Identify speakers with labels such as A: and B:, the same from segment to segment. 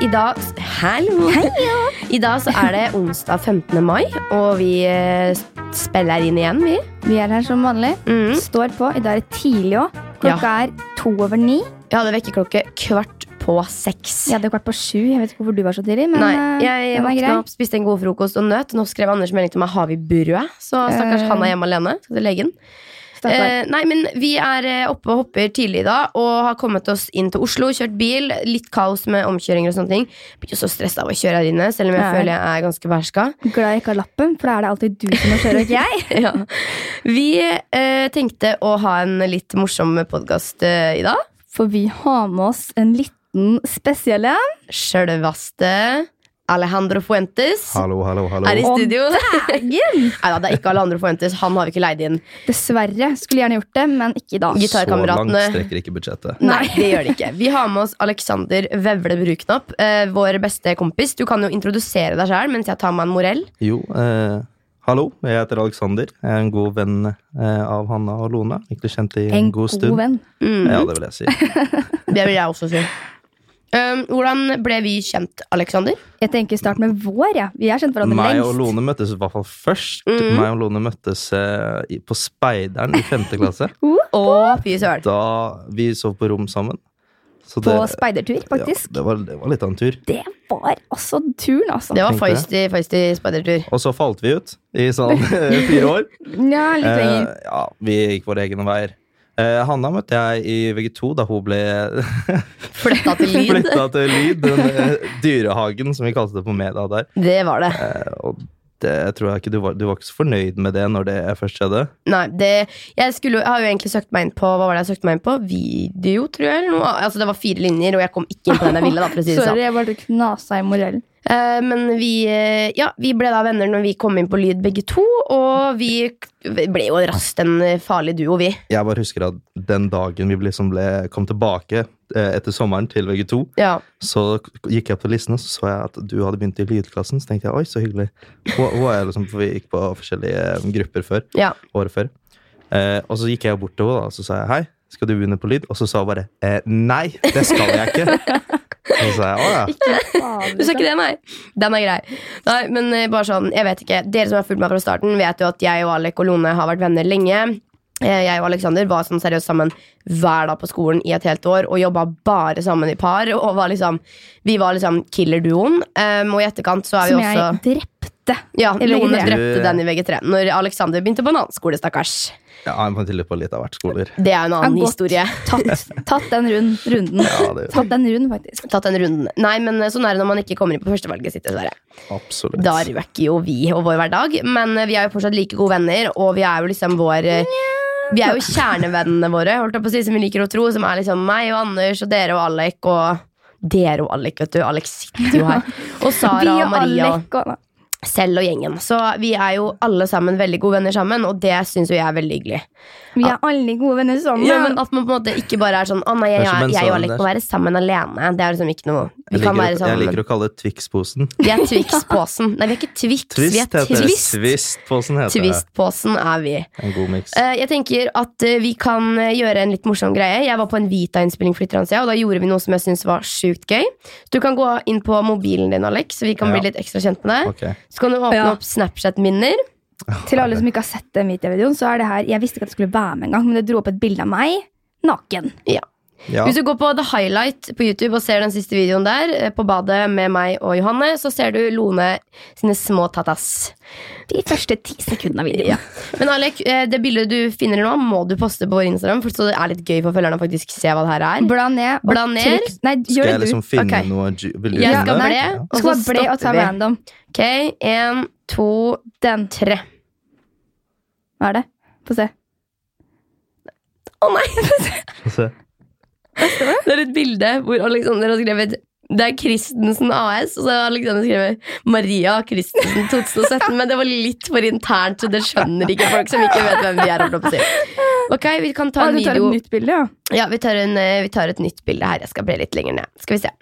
A: I dag Hallo! I dag så er det onsdag 15. mai, og vi eh, spiller inn igjen, vi.
B: Vi er her som vanlig.
A: Mm.
B: Står på. I dag er det tidlig òg. Klokka er to over ni.
A: Jeg hadde vekkerklokke kvart på seks.
B: Jeg hadde kvart på sju. Jeg vet ikke hvorfor du var så tidlig, men
A: Nei,
B: eh,
A: jeg
B: den er grei.
A: våkna opp, spiste en god frokost og nøt. Nå skrev Anders melding til meg har vi brød, så stakkars
B: Eh.
A: han er hjemme alene. Skal til legen.
B: Stakkar.
A: Eh, nei, men vi er eh, oppe og hopper tidlig da Og har kommet oss inn til Oslo, kjørt bil Litt kaos med omkjøringer og sånne ting Blir jo så stresset av å kjøre her inne Selv om jeg
B: Ja.
A: føler jeg er ganske bærska
C: Eh.
B: Glad jeg ikke har lappen, for da er det alltid du som må kjøre, og ikke jeg.
A: ja. Vi eh, tenkte å ha en litt morsom podcast eh, i dag
B: For vi har med oss en liten spesiell en.
A: Selveste Alejandro Fuentes
C: Hallo, hallo, hallo.
A: Er i
B: Å,
A: studio Neida, det er ikke Alejandro Fuentes Han har vi ikke leid inn
B: Dessverre. Skulle gjerne gjort det, men ikke i dag.
A: Gitt- gitarkameratene.
C: Så langt strekker ikke budsjettet.
A: Nei, det gjør det ikke. Vi har med oss Alexander Vevle Bruknapp, eh, vår beste kompis. Du kan jo introdusere deg sjøl mens jeg tar meg en morell.
C: Jo, eh, hallo. Jeg heter Alexander. Jeg er en god venn eh, av Hanna og Lone. Ikke kjent i en,
B: En
C: god stund.
B: venn.
A: Mm,
C: Ja, det vil jeg si.
A: det vil jeg også si. Um, hvordan ble vi kjent, Alexander?
B: Jeg tenker start med vår, jeg. Vi har kjent hverandre
C: Meg og
B: lengst. Mm.
C: Lone møttes i hvert fall først. Meg og Lone møttes eh, i- på Speideren i femte klasse.
A: Å, fy søren.
C: Da vi sov på rom sammen. Så
B: På speidertur, faktisk.
C: Ja, det, var, det var litt av en tur.
B: Det var altså turen, altså.
A: Det var
C: Tenkte jeg.
A: feisty, feisty speidertur.
C: Og så falt vi ut i sånn eh, fire år.
B: Ja, litt lenger.
C: Eh, ja, vi gikk våre egne veier. Eh, Hanna møtte jeg i VG2 da hun ble
A: Flytta til lyd.
C: Flytta til Lyd, den eh, dyrehagen som vi kalte det på media der.
A: Det var det.
C: Eh, Og det tror jeg ikke du var, du var ikke så fornøyd med det når det først skjedde.
A: Nei, det, jeg, skulle, jeg har jo egentlig søkt meg inn på Hva var det jeg søkte meg inn på? Video, tror jeg. Eller noe. Altså, det var fire linjer, og jeg kom ikke inn på den jeg ville. da, for å si det sånn.
B: Sorry, jeg bare knasa i morellen.
A: Eh, Men vi, eh, ja, vi ble da venner når vi kom inn på Lyd begge to, og vi ble jo raskt en eh, farlig duo, vi.
C: Jeg bare husker at den dagen vi liksom ble, kom tilbake eh, etter sommeren til VG2,
A: Ja.
C: så k- gikk jeg opp til listen og så så jeg at du hadde begynt i lydklassen. Så tenkte jeg oi, så hyggelig. Hun, hun er liksom, for Vi gikk på forskjellige eh, grupper før.
A: ja.
C: Året før. Eh, og så gikk jeg bort til henne da, og så sa jeg hei. Skal du begynne på lyd? Og så sa hun bare eh, nei, det skal jeg ikke. Og så sa jeg å ja.
A: Du sa ikke det, nei? Den er grei. Nei, men eh, bare sånn, jeg vet ikke. Dere som har fulgt meg fra starten, vet jo at jeg og Alek og Lone har vært venner lenge. Eh, Jeg og Alexander var sånn seriøst sammen hver dag på skolen i et helt år og jobba bare sammen i par. Og var liksom, vi var liksom killer-duoen. Um, og i etterkant så er vi
B: Som
A: også
B: jeg drepte.
A: Ja,
B: I VG3.
A: Lone drepte den i VG3 Når Alexander begynte på en annen skole, stakkars.
C: Ja, han fant til på litt av hvert skoler.
A: Det er jo en
B: Han
A: annen
B: gått.
A: historie.
B: Tatt, tatt den rund, runden.
C: Ja, det
B: Tatt den runden, faktisk.
A: Tatt den runden. Nei, men sånn er det når man ikke kommer inn på førstevalget sitt, dessverre.
C: Absolutt.
A: Da røkker jo vi og vår hverdag, men eh, vi er jo fortsatt like gode venner, og vi er jo liksom vår Vi er jo kjernevennene våre, holdt jeg på å si, som vi liker å tro, som er liksom meg og Anders og dere og Alek og dere og Alek, vet du. Alex sitter jo her. Og Sara og Maria. og
B: Alec og
A: Selv og gjengen. Så vi er jo alle sammen veldig gode venner sammen, og det syns jo jeg er veldig hyggelig.
B: Vi er alle gode venner sammen.
A: Ja, men At man på en måte ikke bare er sånn Å nei, jeg,
C: Det er som
A: jeg,
C: en
A: jeg og
C: sånn-
A: Alek må være sammen alene. Det er liksom ikke noe Vi kan
C: jeg, liker,
A: være
C: å- jeg
A: sammen.
C: liker å kalle det Twix-posen.
A: Vi er Twix-posen. Nei, vi er ikke Twix. vi
C: Twist
A: er
C: heter det.
A: Twist.
C: Twist-posen heter det.
A: Twist-posen er vi.
C: En god miks.
A: Eh, Jeg tenker at eh, vi kan eh, gjøre en litt morsom greie. Jeg var på en Vita-innspilling for litt grann siden, og da gjorde vi noe som jeg syntes var sjukt gøy. Så du kan gå inn på mobilen din, Alex, så vi kan
C: Ja.
A: bli litt ekstra kjent med deg.
C: Ok.
A: Så kan du åpne
B: Ja.
A: opp Snapchat-minner.
B: Til alle som ikke har sett den videoen, så er det her Jeg visste ikke at det skulle være med engang, men det dro opp et bilde av meg naken.
C: Ja,
A: Hvis du går på The Highlight på YouTube og ser den siste videoen der, eh, på badet med meg og Johanne, så ser du Lone sine små tatas.
B: De første ti sekundene av videoen.
A: Men Alek, eh, det bildet du finner nå, må du poste på vår Instagram, for så det er litt gøy for følgerne å faktisk se hva det her er.
B: Bla ned. og
A: Bla ned.
B: trykk- Nei,
C: skal
B: gjør
C: jeg
B: det du.
C: liksom finne
A: Ok.
C: noe ju- Vil du
A: Jeg
C: finne
A: skal
C: det?
A: ble,
B: Nei,
C: Ja.
A: og
B: Skal
A: så
B: bare ble og
A: stopper
B: ta
A: vi.
B: random.
A: Ok, en, to,
B: Den.
A: tre.
B: Hva er det? Få se.
A: Å nei!
C: Se.
A: Det er et bilde hvor Alexander har skrevet det er Christensen AS, og så har Alexander skrevet Maria Christensen 2017. Men det var litt for internt, så det skjønner ikke folk som ikke vet hvem vi er. holdt jeg på å si. Ok, vi kan ta
B: Å,
A: en
B: du tar et
A: video.
B: nytt bilde, ja.
A: Ja, vi tar, en, eh, vi tar et nytt bilde her. Jeg skal ble litt lenger ned. Skal vi se.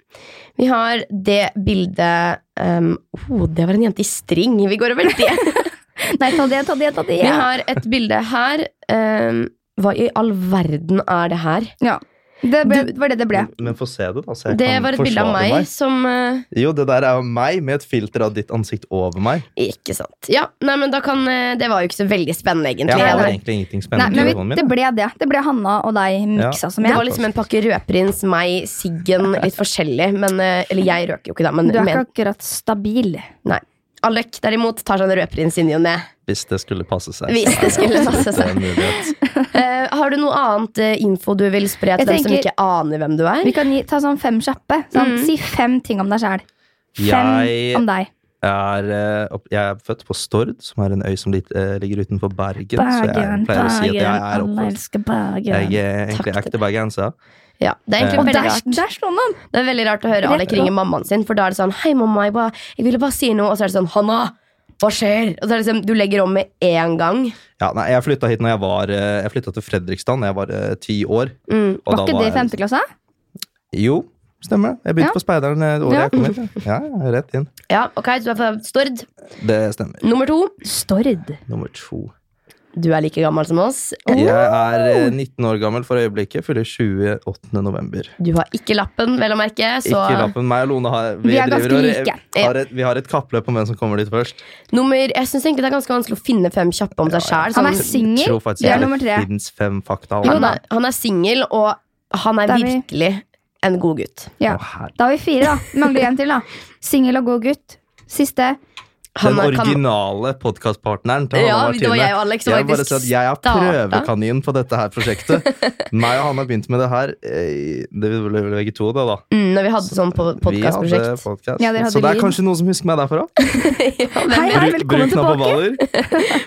A: Vi har det bildet um, oh, Det var en jente i string. Vi går over det.
B: Nei, ta det, ta det, ta det.
A: Vi har et bilde her. ehm, hva i all verden er det her?
B: Ja. Det ble, var det det ble.
C: Men, men få se det, da. Så jeg
A: Det
C: kan
A: var et bilde av
C: forsvare
A: meg, som eh,
C: Jo, det der er jo meg med et filter av ditt ansikt over meg.
A: Ikke sant. Ja, nei, men da kan eh, Det var jo ikke så veldig spennende,
C: Jeg
A: egentlig.
B: Ja,
C: har
B: nei.
C: egentlig ingenting
B: Nei,
C: spennende i
B: men
C: telefonen
B: vi, det
C: min.
B: ble det. Det ble Hanna og deg miksa som
A: Det
B: jeg.
A: var liksom en pakke rødprins, meg, Siggen, litt forskjellig. Men, eh, eller jeg røker jo ikke, da. Men,
B: Du er
A: men
B: ikke akkurat stabil.
A: nei. Alec derimot tar seg en rødprins inn i og ned.
C: Hvis det skulle passe seg.
A: Hvis
C: så
A: det
C: er
A: skulle passe
C: det
A: seg.
C: en mulighet.
A: Eh, har du noe annet eh, info du vil spre til
B: Jeg
A: dem som
B: tenker-
A: ikke aner hvem du er?
B: Vi kan gi, ta sånn fem kjappe. Sånn,
A: Mm.
B: Si fem ting om deg sjæl. Fem
C: Jeg
B: om deg.
C: er, eh, opp- jeg er født på Stord, som er en øy som lit- eh, ligger utenfor Bergen. så jeg
B: Bergen,
C: pleier å si at
B: Bergen.
C: jeg er
B: Alle
C: oppvokst.
B: elsker Bergen.
C: Jeg er egentlig
A: Takk til
C: ekte bergenser.
A: Ja, det er
C: Eh,
A: egentlig
B: og
A: veldig
B: der,
A: rart.
B: der slo noen!
A: Det er veldig rart å høre
B: Rett
A: Alec
B: på.
A: ringe mammaen sin, for da er det sånn Hei, mamma, jeg, bare, jeg ville bare si noe. Og så er det sånn Hanna, hva skjer? Og så er det liksom, Du legger om med en gang.
C: Ja, nei, jeg flytta hit når jeg var eh, Jeg flytta til Fredrikstad da jeg var eh, ti år.
A: Mm.
C: og
B: Var
C: da
B: ikke det i
C: jeg-
B: femte klasse?
C: Jo, stemmer det. Jeg begynte
B: Ja.
C: på Speideren eh, det året
B: Ja.
C: jeg kom hit. Ja, ja, rett inn.
A: Ja, ok, så du er fra Stord.
C: Det stemmer.
A: Nummer to.
B: Stord.
C: Nummer to.
A: Du er like gammel som oss.
C: Jeg er
B: Oh.
C: eh, 19 år gammel for øyeblikket. Fyller 28. november.
A: Du har ikke lappen, vel å merke. Så
C: Ikke lappen. Meg og Lone har,
B: Vi er ganske
C: og-
B: like.
C: Har et, vi har et kappløp om hvem som kommer dit først.
A: nummer Jeg syns egentlig det er ganske vanskelig å finne fem kjappe om seg sjæl.
B: Han
A: Sånn,
B: er singel.
C: Tror faktisk
B: Du er
C: ikke
B: nummer tre.
C: Det finnes fem fakta om
A: han
C: meg.
A: er, han er singel, og han er
B: Da er vi-
A: virkelig en god gutt.
B: Ja.
C: Å, herre.
B: Da har vi fire, da. Mangler en til, da. Singel og god gutt. Siste.
A: Han
C: Den
A: er- kan-
C: originale podkastpartneren til Hanna
A: Ja,
C: Martine.
A: det var jeg og Alex som
C: Jeg vil bare si
A: faktisk
C: at jeg er
A: starta.
C: prøvekanin på dette her prosjektet. Meg og han har begynt med det her. eh, Det ble vel begge to, da. da.
A: Mm, når vi hadde sånn på
C: Vi hadde
A: podkastprosjekt.
C: podcast.
B: Ja, dere hadde
C: Så det er
B: lyd.
C: kanskje noen som husker meg derfra.
B: Hei, hei, velkommen tilbake!
C: Baller.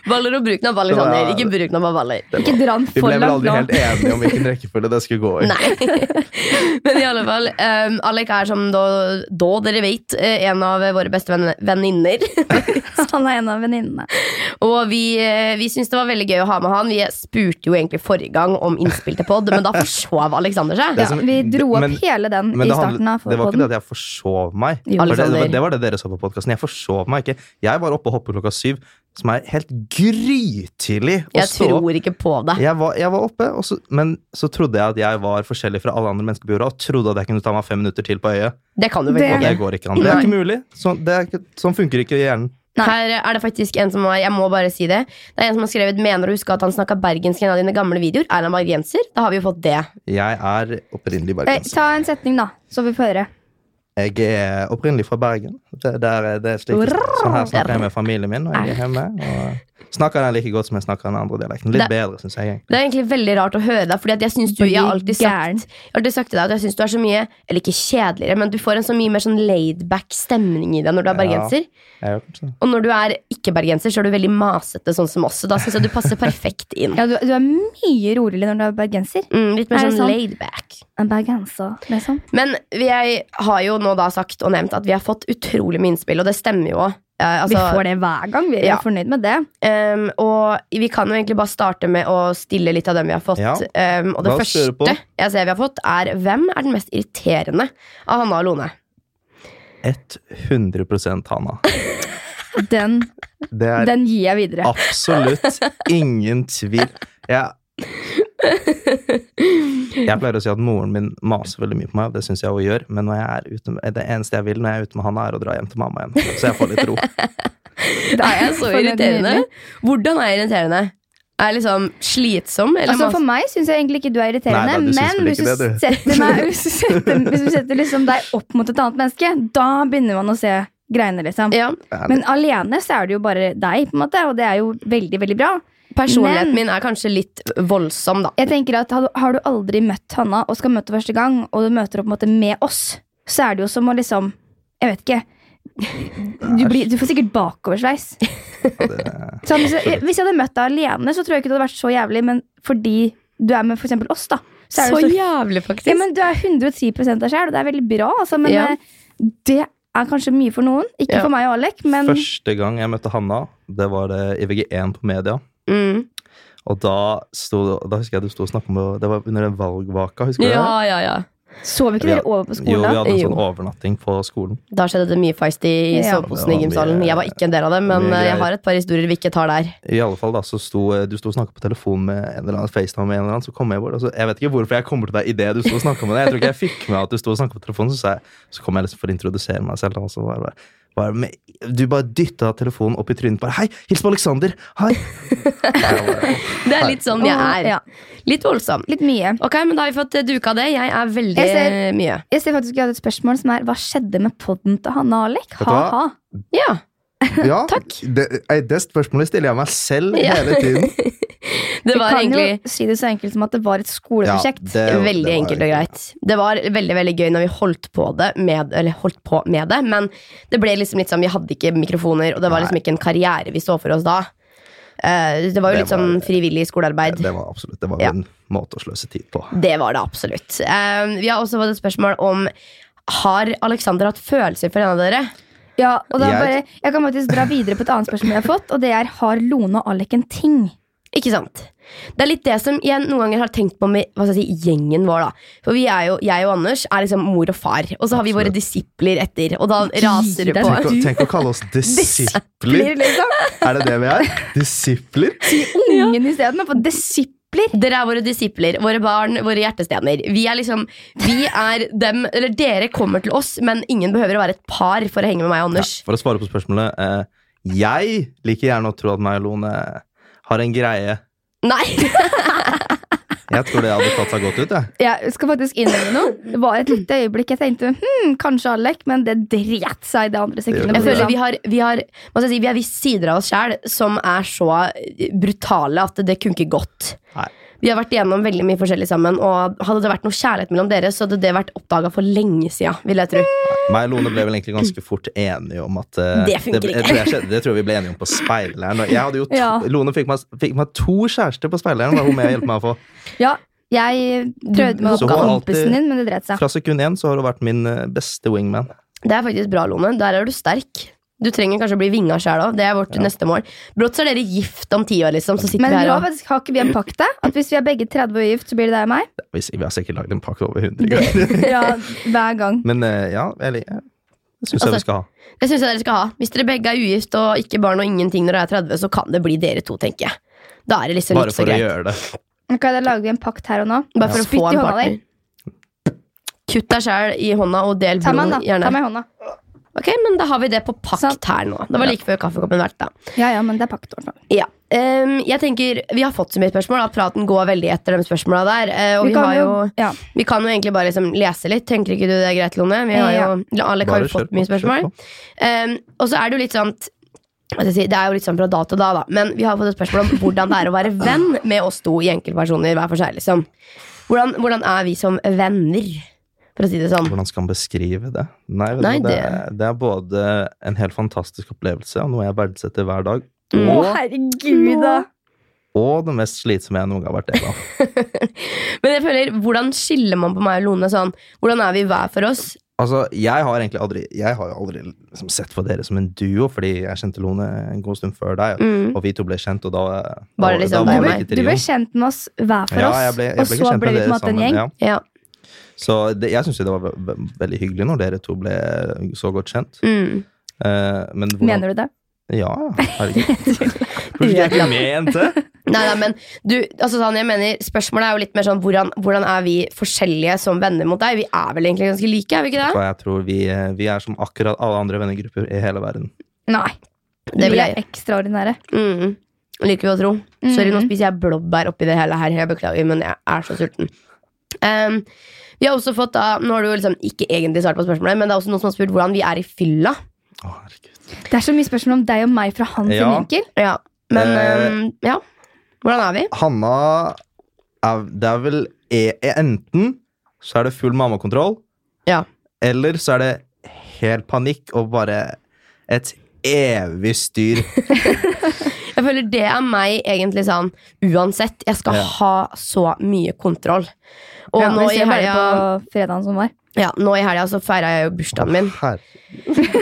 A: Baller og bruk den av baller,
C: Det var-
A: Sander. Ikke bruk den av baller.
B: Ikke dra den
C: Vi
B: for
C: ble vel
B: langt
C: aldri
B: nå.
C: helt enige om hvilken rekkefølge det skulle gå i.
A: Nei. Men i alle fall, um, Alec er som da, da dere vet, eh, en av våre beste venn- venninner.
B: Han er en av venninnene.
A: Og vi, eh, vi syntes det var veldig gøy å ha med han. Vi spurte jo egentlig forrige gang om innspill til pod, men da forsov Alexander seg.
B: Ja,
C: Det som-
B: vi dro opp
C: men-
B: hele den
C: Men
B: i
C: det, handlet,
B: starten av
C: det var ikke det
B: podden.
C: at jeg forsov meg.
B: Jo.
C: For det, det, var-
A: Alexander.
C: det var det dere så på podkasten. Jeg forsov meg ikke. Jeg var oppe og hoppet klokka syv, som er helt grytidlig å
A: Jeg
C: stå opp.
A: tror ikke på det.
C: Jeg var, jeg var oppe, og så, men så trodde jeg at jeg var forskjellig fra alle andre mennesker på jorda, og trodde at jeg kunne ta meg fem minutter til på øyet.
A: Det kan du vel
B: Det-
C: Og
A: ikke.
C: det går ikke an. Det er ikke mulig. Sånn, det er ikke, sånn funker ikke hjernen.
B: Nei.
A: Her er det faktisk en som har Jeg må bare si det. Det er en som har skrevet 'Mener å huske at han snakka bergensk i en av dine gamle videoer'. Er han bergenser? Da har vi jo fått det.
C: Jeg er opprinnelig
B: Eh,
C: bergenser.
B: ta en setning, da, så vi får høre.
C: Jeg er opprinnelig fra Bergen. Det, der, er- det er slik, sånn her snakker jeg med familien min når jeg er hjemme. Og snakker den like godt som jeg snakker den andre dialekten.
A: Det-
C: Litt bedre, syns jeg. egentlig.
A: Det er egentlig veldig rart å høre deg, Fordi at jeg synes du Jeg har alltid sagt
B: Gæren.
A: Jeg har alltid sagt til deg at jeg synes du er så mye Eller ikke kjedeligere, men du får en så mye mer sånn laid-back stemning i deg når du er
C: Ja.
A: bergenser.
C: Jeg er jo kanskje sånn.
A: Og når du er ikke-bergenser, så er du veldig masete, sånn som oss. Så da synes jeg du passer perfekt inn.
B: Ja, du, du er mye roligere når du er bergenser
A: Mm, litt mer
B: Er det
A: sånn
B: sant?
A: laid-back.
B: enn bergenser. Liksom.
A: Men vi er- har jo nå da sagt og nevnt at vi har fått utrolig mye innspill, og det stemmer jo òg. Eh,
B: vi
A: altså,
B: får det hver gang. Vi er
A: Ja.
B: fornøyd med det.
A: ehm, og vi kan jo egentlig bare starte med å stille litt av dem vi har fått.
C: Ja.
A: Ehm, og det
C: La oss kjøre på.
A: første jeg ser vi har fått, er hvem er den mest irriterende av Hanna og Lone?
C: 100 Hanna.
B: Den,
C: Det er
B: den gir jeg videre.
C: Absolutt ingen tvil. Jeg, jeg pleier å si at moren min maser veldig mye på meg, og det syns jeg hun gjør. Men når jeg er ute med, det eneste jeg vil når jeg er ute med Hanna, er å dra hjem til mamma igjen. Så jeg får litt ro. Ah.
A: Da er jeg så
B: For en
A: irriterende.
B: nydelig.
A: Hvordan er jeg irriterende? Er jeg liksom slitsom? Eller
B: Altså,
A: mas-
B: for meg syns jeg egentlig ikke du er irriterende,
C: Nei, da, du synes
B: men
C: vel
B: hvis du,
C: ikke det, du.
B: setter meg, hvis du setter, hvis du setter liksom deg opp mot et annet menneske, da begynner man å se greiene, liksom.
A: ja,
B: Men alene så er det jo bare deg, på en måte, og det er jo veldig, veldig bra.
A: personligheten
B: Men-
A: min er kanskje litt voldsom, da.
B: Jeg tenker at Har du, har du aldri møtt Hanna og skal møte første gang, og du møter opp på en måte med oss, så er det jo som å liksom Jeg vet ikke. Du, blir, du får sikkert bakoversveis.
C: Ja, det-
B: Sånn, hvis, jeg, hvis jeg hadde møtt deg alene, så tror jeg ikke det hadde vært så jævlig, men fordi du er med for eksempel oss, da. Så er det så,
A: jævlig, faktisk.
B: ja, men du er 110 av deg selv, og det er veldig bra, altså, men
A: Ja.
B: eh, det er kanskje mye for noen. Ikke
A: Ja.
B: for meg og Alek, men
C: Første gang jeg møtte Hanna, det var det i VG1 på media.
A: mm.
C: Og da, sto, da husker jeg du sto og snakket med Det var under den valgvaka, husker du
A: Ja, ja, ja.
C: det?
B: Sov ikke
C: Vi
B: dere
C: har-
B: over på
C: Jo,
B: skolen?
C: vi hadde en
A: Jo.
C: sånn overnatting på skolen.
A: Da skjedde det mye feist i
B: Ja.
A: soveposen
C: Det
A: i
C: var
A: gymsalen.
C: mye-
A: Jeg var ikke en del av det, men
C: mye
A: eh, jeg
C: greier.
A: har et par historier vi ikke tar der.
C: I alle fall da, så sto eh, Du sto og snakka på telefon med en eller annen FaceTime, med en eller annen, så kom jeg bort. Og så, jeg vet ikke hvorfor jeg kommer til deg idet du sto og snakka med deg. Jeg tror ikke jeg fikk med at du sto og snakket på telefonen, så, sa jeg, så kom jeg liksom for å introdusere meg selv. Og så var det bare, bare med, du bare dytta telefonen opp i trynet bare 'Hei, hils på Alexander!' Hei! Jeg bare,
A: Det er litt sånn
B: Åh,
A: jeg
B: ja.
A: er. Litt voldsom.
B: Litt mye.
A: Ok, men da har vi fått eh, duka det. Jeg er veldig
B: Jeg ser-
A: eh, mye.
B: Jeg ser faktisk jeg hadde et spørsmål som er Hva skjedde med podden til Hanne og Alek?
C: du hva?
B: Ha-ha.
A: Ja.
C: Ja, Det, ei, det spørsmålet stiller jeg meg selv
A: Ja.
C: hele tiden.
A: Det var
B: kan
A: egentlig
B: jo si det så enkelt som at det var et skoleprosjekt.
C: Ja, det-
A: Veldig
C: var
A: enkelt og
C: egentlig-
A: greit. Det var veldig veldig gøy når vi holdt på det med, eller holdt på med det, men det ble liksom litt sånn, vi hadde ikke mikrofoner, og det var liksom ikke en karriere vi så for oss da. Eh, Det var jo
C: Det
A: litt sånn
C: var-
A: frivillig skolearbeid.
C: Det var absolutt det var
A: Ja.
C: en måte å sløse tid på.
A: Det var det absolutt. Eh, Vi har også fått et spørsmål om har Alexander hatt følelser for en av dere?
B: Ja, og da
C: Jeg-
B: bare, jeg kan faktisk dra videre på et annet spørsmål jeg har fått, og det er Har Lone og Alek en ting?
A: Ikke sant? Det er litt det som jeg noen ganger har tenkt på med hva skal jeg si, gjengen vår. da. For vi er jo, Jeg og Anders er liksom mor og far, og så har vi våre
C: Absolutt.
A: disipler etter. Og da raser det
B: deg.
A: på.
C: Tenk å, tenk å kalle oss disipler!
B: liksom
C: Er det det vi er? Disipler?
B: Ungen isteden, for disipler.
A: Dere er våre disipler, våre barn, våre hjertestener. Vi er liksom, vi er dem, eller Dere kommer til oss, men ingen behøver å være et par for å henge med meg og Anders.
C: For å svare på spørsmålet eh, Jeg liker gjerne å tro at meg og Lone har en greie.
A: Nei!
C: Jeg tror det hadde tatt seg godt ut. Jeg.
B: Jeg skal faktisk innrømme noe. Det var et lite øyeblikk jeg tenkte hm, kanskje Alek, men det dret seg i det andre sekundet.
A: Jeg
C: Det er
A: føler vi har, vi har, hva skal jeg si, vi har visse sider av oss sjæl som er så brutale at det kunne ikke gått.
C: Nei.
A: Vi har vært igjennom veldig mye forskjellig sammen, og hadde det vært noe kjærlighet mellom dere, så hadde det vært oppdaga for lenge sida, vil jeg tro.
C: Meg og Lone ble vel egentlig ganske fort enige om at eh,
A: Det funker
C: det,
A: ikke.
C: det, skjedde- det tror jeg vi ble enige om på Speileren. og Jeg hadde jo to,
B: Ja.
C: Lone fikk meg, fikk meg to kjærester på Speileren. Var hun med å hjelpe meg å få.
B: Ja, jeg prøvde med
C: Så hun har alltid-
B: kompisen din, men det dret seg.
C: Fra sekund én så har hun vært min eh, beste wingman.
A: Det er faktisk bra, Lone. Der er du sterk. Du trenger kanskje å bli vinga sjæl òg. Det er vårt neste mål. Brått så er dere gift om ti år, liksom. Så sitter
B: Men
A: vi her
B: nå
A: og
B: faktisk har ikke vi en pakt der? At hvis vi er begge 30 og gift, så blir det deg og meg?
C: Vi, vi har sikkert lagd en pakke over 100 ganger.
B: Ja, hver gang.
C: Men eh, ja, jeg, lik- jeg syns jeg
A: Altså,
C: vi skal ha.
A: Det syns jeg dere skal ha. Hvis dere begge er ugift og ikke barn og ingenting når dere er 30, så kan det bli dere to, tenker jeg. Da er det liksom
C: Bare
A: ikke så
C: for å
A: greit.
C: gjøre det.
B: Ok, Da lager vi en pakt her og nå.
A: Bare for å
B: Spytt
A: få
B: i
A: en
B: hånda
A: partner.
B: di.
A: Kutt deg sjæl i hånda og del
B: Ta meg,
A: blod,
B: da. Ta Sånn.
A: gjerne.
B: meg i hånda.
A: Ok, men da har vi det på
B: Sant.
A: pakt her nå. Det var like før kaffekoppen valgte.
B: Ja, ja, men det er pakt. i hvert fall.
A: Ja. Ehm, jeg tenker, Vi har fått så mye spørsmål at praten går veldig etter de spørsmåla der. eh, og vi,
B: kan
A: har jo,
B: ja.
A: vi kan jo egentlig bare liksom lese litt. Tenker ikke du det er greit, Lone? Vi har jo, Alek har
C: Bare
A: jo
C: kjør
A: fått
C: på,
A: mye
C: kjør
A: spørsmål.
C: på.
A: Ehm, og så er det jo litt sånn at- hva skal jeg si, det er jo litt sånn fra da til da, da. Men vi har fått et spørsmål om hvordan det er å være venn med oss to i enkeltpersoner hver for seg. liksom. Hvordan, hvordan er vi som venner, for å si det sånn?
C: Hvordan skal man beskrive det? Nei, vet du
A: Nei,
C: hva, det, er- det er både en helt fantastisk opplevelse, og noe jeg verdsetter hver dag,
B: Å,
C: og,
B: herregud, da!
C: og det mest slitsomme jeg noen gang har vært del av.
A: Men jeg føler, hvordan skiller man på meg og Lone sånn? Hvordan er vi hver for oss?
C: Altså, jeg har egentlig aldri, jeg har jo aldri liksom sett på dere som en duo, fordi jeg kjente Lone en god stund før deg,
A: Mm.
C: og vi to ble kjent, og da, da,
A: Bare liksom
C: da
A: deg og
C: var vi
A: meg.
C: ikke
B: Du ble
C: trio.
B: kjent med oss hver for
C: Ja,
B: oss,
C: jeg ble, jeg ble
B: og
C: ikke
B: så
C: kjent
B: ble
C: med
B: vi på en
C: dere
B: måte en
C: sammen,
B: gjeng.
C: ja.
A: Ja.
C: Så det, jeg syns jo det var ve ve veldig hyggelig når dere to ble eh, så godt kjent.
A: Mm.
C: Eh, men hvordan,
B: Mener du det?
C: Ja, herregud. Hvorfor fikk jeg ikke med en til?
A: Nei, nei, men du, altså sånn, jeg mener Spørsmålet er jo litt mer sånn hvordan, hvordan er vi forskjellige som venner mot deg? Vi er vel egentlig ganske like, er vi ikke
C: Så
A: det?
C: jeg tror vi, eh, vi er som akkurat alle andre vennegrupper i hele verden.
B: Nei.
A: Det vil
B: vi
A: jeg
B: er ekstraordinære.
A: Mm. Liker vi å tro. Sorry, nå
B: Mhm.
A: spiser jeg blåbær oppi det hele her. Jeg beklager, men jeg er så sulten. Ehm, vi har også fått da, Nå har du jo liksom ikke egentlig svart på spørsmålet, men det er også noen som har spurt hvordan vi er i fylla.
C: Å, herregud.
B: Det er så mye spørsmål om deg og meg fra hans
C: Ja.
B: vinkel.
A: Ja, Men
C: Eh.
A: ehm, ja. Hvordan er vi?
C: Hanna er, Det er vel e e- Enten så er det full mammakontroll,
A: Ja.
C: eller så er det helt panikk og bare et evig styr.
A: Jeg føler det er meg egentlig sånn uansett. Jeg skal
C: Ja.
A: ha så mye kontroll. Og
B: Ja,
A: nå
B: vi
A: i
B: ser bare
A: helga
B: på fredagen som var.
A: Ja, nå i helga så feira jeg jo bursdagen min.
C: Her.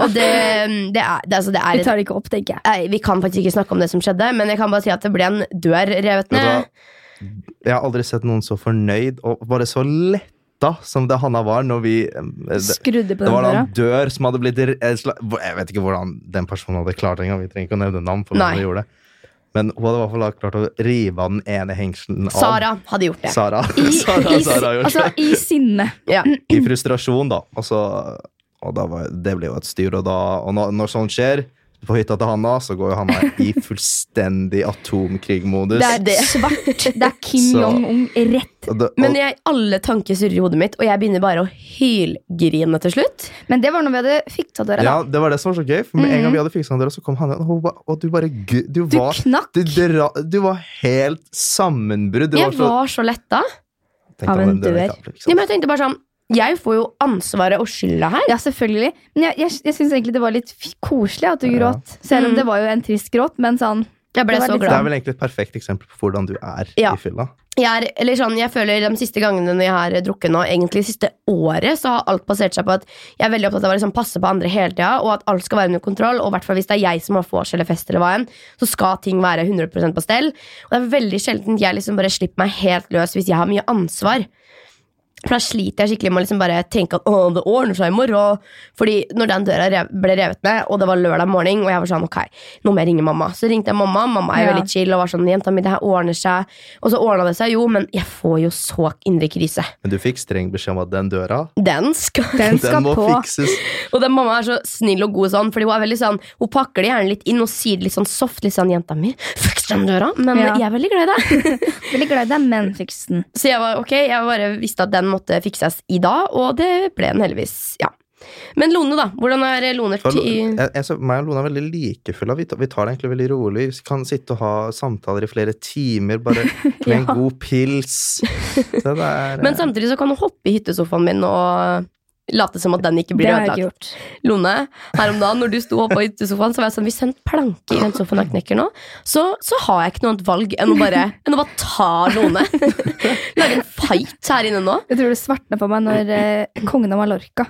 A: Og det, det er, det, altså, det er
B: Vi
A: et,
B: tar det ikke opp, tenker jeg.
A: Nei, Vi kan faktisk ikke snakke om det som skjedde, men jeg kan bare si at det ble en dør revet
C: Vet du hva?
A: ned.
C: Jeg har aldri sett noen så fornøyd og bare så letta rotta som det Hanna var når vi eh, det,
B: Skrudde på
C: det
B: den
C: var da
B: døra.
C: en dør som hadde blitt re- eh, sla- hvor- Jeg vet ikke hvordan den personen hadde klart det engang. Vi trenger ikke å nevne navn. på
A: Nei.
C: hvordan hun gjorde det Men hun hadde i hvert fall da klart å rive av den ene hengselen av.
A: Sara hadde gjort det.
C: Sara. Mm,
B: I,
C: Sara,
B: i,
C: Sara har gjort
B: altså,
C: det.
B: I sinne.
A: Ja.
C: I frustrasjon, da. Og, så, og da var, det ble jo et styr. Og, da, og når, når sånt skjer på hytta til Hanna, så går jo Hanna i fullstendig atomkrigmodus.
B: Det er
A: Det.
B: svart. Det er Kim
C: Så-
B: Jong-un rett.
C: Og det- og-
A: Men jeg, alle tanker surrer i hodet mitt, og jeg begynner bare å hylgrine til slutt.
B: Men det var når vi hadde fiksa døra. da.
C: Ja, det var det som var så gøy. For med en gang vi hadde fiksa døra, så kom han igjen, og, hun ba- og du bare gu- Du
B: Du
C: var,
B: knakk.
C: du dra- du var helt sammenbrudd. Du
A: Jeg
C: så-
A: var så letta.
C: Tenkte
B: av
C: han,
B: en
C: "Den døra
B: dør."
C: gikk opp, liksom.
A: Ja, men jeg tenkte bare sånn Jeg får jo ansvaret og skylda her.
B: Ja, selvfølgelig. Men jeg, jeg, jeg syns egentlig det var litt f- koselig at du
C: Ja.
B: gråt. Selv om
A: Mm.
B: det var jo en trist gråt, men sånn
A: Jeg ble
B: Det var
A: så
B: litt
C: Det er
A: glad.
C: vel egentlig et perfekt eksempel på hvordan du er
A: Ja.
C: i fylla.
A: Jeg, er, eller sånn, jeg føler De siste gangene når jeg har drukket nå, egentlig det siste året, så har alt basert seg på at jeg er veldig opptatt av å liksom passe på andre hele tida, og at alt skal være under kontroll. Og i hvert fall hvis det er jeg som har vors eller fest, eller hva enn, så skal ting være 100 på stell. Og det er veldig sjelden jeg liksom bare slipper meg helt løs hvis jeg har mye ansvar. For da sliter jeg skikkelig med å liksom bare tenke at Åh, det ordner seg i morgen. Fordi når den døra rev, ble revet ned, og det var lørdag morgen, og jeg var sånn ok, nå må jeg ringe mamma. Så ringte jeg mamma. Mamma er jo
B: Ja.
A: veldig chill og var sånn jenta mi, det her ordner seg. Og så ordna det seg jo, men jeg får jo så indre krise.
C: Men du fikk streng beskjed om at den døra
A: Den skal
B: Den skal
C: den må
B: på.
C: fikses.
A: Og den mamma er så snill og god sånn, fordi hun er veldig sånn Hun pakker det gjerne litt inn og sier det litt sånn soft, litt sånn jenta mi, fuck den døra. Men
B: Ja.
A: jeg er veldig glad i deg.
B: Veldig glad i deg, men fiks den.
A: Så jeg var ok, jeg bare visste at den måtte fikses i dag, og det ble den heldigvis. ja. Men Lone, da. Hvordan er Lone
C: For,
A: ti...
C: jeg, jeg, så, meg og Lone er veldig likefulle. Vi, tar- vi tar det egentlig veldig rolig. Vi kan sitte og ha samtaler i flere timer bare med en
B: Ja.
C: god pils. Så det er,
A: Men samtidig så kan hun hoppe i hyttesofaen min og late som at den ikke
B: Det
A: blir
B: har jeg ikke
A: ødelagt.
B: gjort.
A: Lone, her om dagen når du sto oppe i hyttesofaen, så var jeg sånn Hvis en planke i den sofaen her knekker nå, så, så har jeg ikke noe annet valg enn å bare, enn å bare ta Lone. Lage en fight her inne nå.
B: Jeg tror det svartna på meg når eh, kongen av Mallorca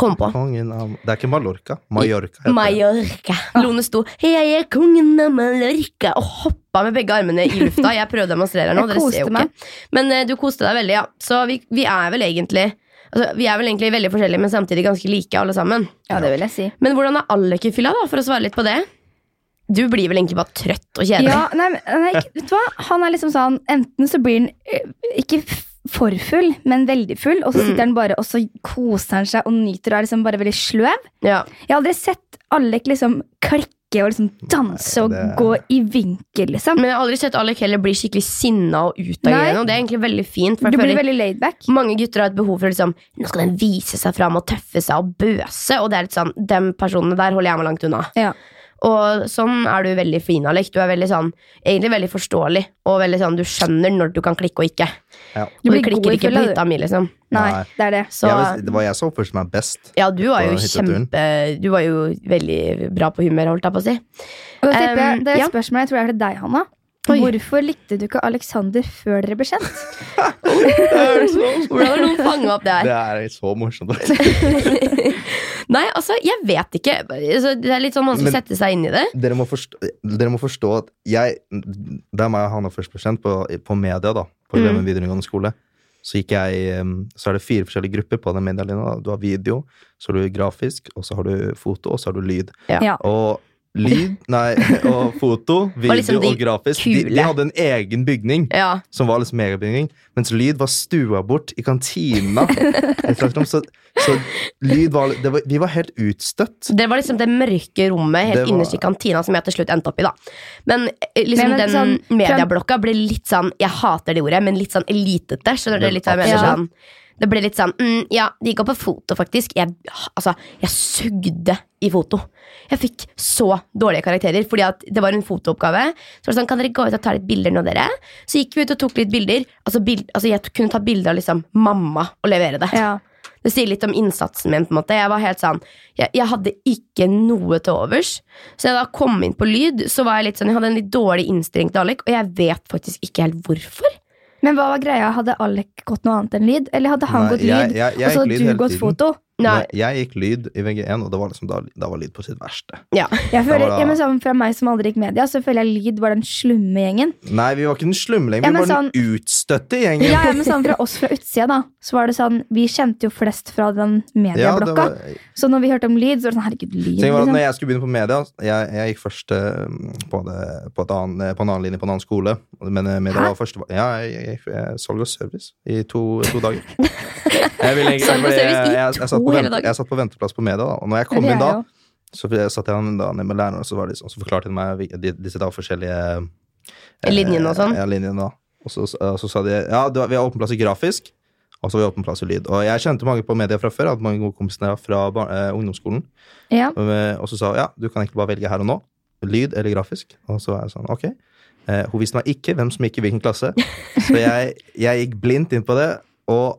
A: Kom på.
C: eh, Kongen av Det er ikke Mallorca. Mallorca. heter det.
A: Mallorca. Lone sto 'Jeg er kongen av Mallorca' og hoppa med begge armene i lufta. Jeg prøvde å demonstrere her nå,
B: Jeg
A: dere ser jo
B: koste
A: ikke.
B: meg.
A: Men eh, du koste deg veldig, ja. Så vi, vi er vel egentlig Altså, vi er vel egentlig veldig forskjellige, men samtidig ganske like. alle sammen
B: Ja, det vil jeg si.
A: Men hvordan er Alec i fylla, da, for å svare litt på det? Du blir vel egentlig bare trøtt og kjedelig?
B: Ja, nei, men- nei, ikke- vet du hva? Han er liksom sånn Enten så blir han eh, ikke f- for full, men veldig full, og så sitter han bare og så koser han seg og nyter og er liksom bare veldig sløv.
A: Ja.
B: Jeg har aldri sett Alek liksom klikke og liksom danse og
C: det-
B: gå i vinkel, liksom.
A: Men jeg har aldri sett Alec heller bli skikkelig sinna og utagerende.
B: Nei.
A: og Det er egentlig veldig fint. For
B: Du
A: jeg
B: blir
A: føler
B: veldig laid back.
A: mange gutter har et behov for å liksom, nå skal den vise seg fram og tøffe seg og bøse. Og det er litt sånn, de personene der holder jeg meg langt unna.
B: Ja.
A: Og sånn er du veldig fin, Alek. Du er veldig sånn, egentlig veldig forståelig. Og veldig sånn, du skjønner når du kan klikke og ikke.
C: Ja.
A: Du,
B: blir
A: du klikker
B: god i
A: ikke på
B: fylla, du.
A: hytta mi, liksom.
B: Nei,
C: Nei.
B: det er det.
A: Så,
C: Jeg vil si- det var jeg som oppførte meg best.
A: ja, du var jo
C: på hytteturen.
A: kjempe Du var jo veldig bra på humør, holdt jeg på å si.
B: Og da tipper
A: Um,
B: jeg, det er et
A: ja.
B: spørsmål jeg tror er til deg, Hanna.
A: Oi.
B: Hvorfor likte du ikke Alexander før dere ble kjent?
A: Hvordan har noen fanget opp det her?
C: Det er så morsomt.
A: Nei, altså, jeg vet ikke. Altså, Det er litt sånn vanskelig å
C: Men-
A: sette seg inn i det.
C: dere, må forstå, dere må forstå at jeg Da meg og Hanna først ble kjent, på, på media, da, på
A: Mm.
C: Glemmen videregående skole, så gikk jeg um, Så er det fire forskjellige grupper på den medielinja. da. Du har video, så har du grafisk, og så har du foto, og så har du lyd.
A: Ja.
B: Ja.
C: Og lyd, nei, og foto, video
A: liksom de
C: og grafisk, de,
A: kule.
C: de hadde en egen bygning
A: Ja.
C: som var liksom megabygning, mens lyd var stua bort i kantina. Et slags rom, så, så lyd var, det var Vi var helt utstøtt.
A: Det var liksom det mørke rommet helt
C: Det var-
A: innerst i kantina som jeg til slutt endte opp i. da Men eh, liksom
B: Men
A: den
B: en sånn-
A: medieblokka ble litt sånn Jeg hater det ordet, men litt sånn elitete. Skjønner du
C: Det-
A: litt hva jeg mener?
B: Ja.
A: Sånn, det ble litt sånn mm, Ja, det gikk opp på foto, faktisk. Jeg, altså, jeg sugde i foto. Jeg fikk så dårlige karakterer fordi at det var en fotooppgave. Så var det sånn, kan dere gå ut og ta litt bilder nå, dere? Så gikk vi ut og tok litt bilder. Altså, bild, altså jeg kunne ta bilder av liksom mamma og levere det.
B: Ja.
A: Det sier litt om innsatsen min. på en måte Jeg var helt sånn Jeg, jeg hadde ikke noe til overs. Så jeg da kom inn på lyd, så var jeg litt sånn Jeg hadde en litt dårlig innstilling til Alek, og jeg vet faktisk ikke helt hvorfor.
B: Men hva var greia? Hadde Alek gått noe annet enn lyd? Eller hadde han
C: Nei,
B: gått lyd,
C: jeg- jeg- jeg
B: og så
C: gikk lyd
B: hadde
C: hele
B: du gått
C: tiden.
B: foto?
A: Nei,
C: Når Jeg gikk lyd i VG1, og det var liksom da, da var lyd på sitt verste.
A: ja.
B: Jeg
C: Da
B: føler,
C: var det-
B: ja, men sammen Fra meg som aldri gikk media, så føler jeg lyd var den slumme gjengen.
C: Nei, vi var ikke den slumlingen,
B: Ja,
C: vi
B: men
C: var den utstøtte gjengen.
B: Ja, ja, men sånn Fra oss fra utsida, da, så var det sånn Vi kjente jo flest fra den
C: Ja, det
B: medieblokka.
C: var,
B: Så når vi hørte om lyd, så var det sånn Herregud, lyd.
C: Ting var at
B: Liksom.
C: når jeg skulle begynne på media Jeg, jeg gikk først eh, på, det, på, et annen, på en annen linje på en annen skole. Men eh, media
B: Hæ?
C: var første Ja, jeg, jeg, gikk, eh, salg og service i to, to dager. Jeg ville egentlig-
A: Salg og
C: fordi
A: service i
C: jeg, jeg, jeg, satt
A: to
C: på
A: hele
C: vent-
A: dager.
C: jeg satt på venteplass på media, da. Og når jeg
B: Ja,
C: kom
B: det
C: inn
B: er
C: da,
B: jo-
C: så satt jeg da ned med læreren, og så, var det, liksom- så forklarte de meg vi- de- disse da forskjellige eh,
A: Linjene og sånn?
C: Ja, linjene da. Og så, og så sa de ja, det var- vi har åpen plass i grafisk, og så har vi åpen plass i lyd. Og jeg kjente mange på media fra før, jeg hadde mange gode kompiser fra bar- eh, ungdomsskolen.
B: Ja.
C: Eh, Og så sa hun ja, du kan egentlig bare velge her og nå. Lyd eller grafisk. Og så var jeg sånn, ok. Eh, hun visste meg ikke hvem som gikk i hvilken klasse. Så jeg, jeg gikk blindt inn på det. Og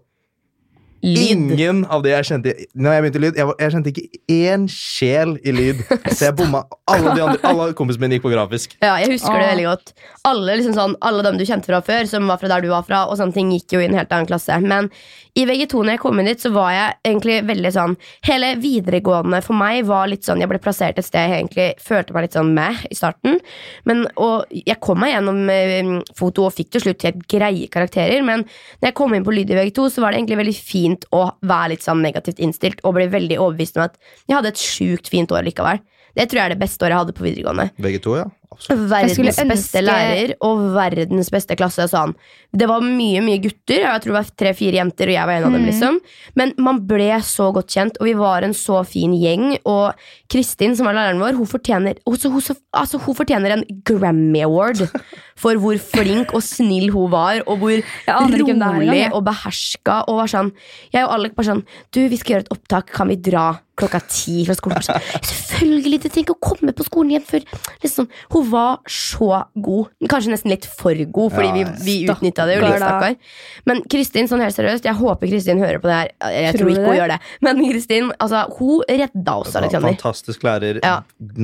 A: Lyd.
C: ingen av de jeg kjente Når jeg begynte i lyd, jeg, var- jeg kjente ikke én sjel i lyd. Så jeg bomma. Alle de andre, alle kompisene mine gikk på grafisk.
A: Ja, jeg husker det
B: Ah.
A: veldig godt. Alle, liksom sånn, alle dem du kjente fra før, som var fra der du var fra, og sånne ting gikk jo i en helt annen klasse. Men i VG2 når jeg kom inn dit, så var jeg egentlig veldig sånn Hele videregående for meg var litt sånn Jeg ble plassert et sted jeg egentlig følte meg litt sånn med i starten. Men, og jeg kom meg gjennom eh, foto og fikk til slutt helt greie karakterer. Men når jeg kom inn på lyd i VG2, så var det egentlig veldig fint å være litt sånn negativt innstilt og bli veldig overbevist om at jeg hadde et sjukt fint år likevel. Det tror jeg er det beste året jeg hadde på videregående.
C: VG2, ja. Absolutt.
A: Verdens
B: skulle ønske-
A: beste lærer og verdens beste klasse. Sa han. Det var mye mye gutter, jeg tror det var tre-fire jenter, og jeg var en
B: Mm.
A: av dem. liksom Men man ble så godt kjent, og vi var en så fin gjeng. Og Kristin, som var læreren vår, hun fortjener, hun, hun, altså, hun fortjener en Grammy Award for hvor flink og snill hun var, og hvor
B: aner ikke hvem det er engang,
A: rolig
B: jeg.
A: og beherska. Og var sånn, jeg og Alec bare sånn Du, vi skal gjøre et opptak. Kan vi dra klokka ti fra skolen? Bare Sånn, Selvfølgelig! Du trenger ikke å komme på skolen igjen før liksom, Hun var så god. Kanskje nesten litt for god, fordi
C: Ja, ja.
A: vi, vi utnytta det jo litt,
B: Stakkar, da.
A: stakkar. Men Kristin, sånn helt seriøst, jeg håper Kristin hører på det her. Jeg
B: Tror
A: tror
B: du
A: ikke hun
B: det? Altså,
A: gjør det. Men Kristin, altså, hun redda oss, Alexander.
C: Fantastisk lærer.
A: Ja.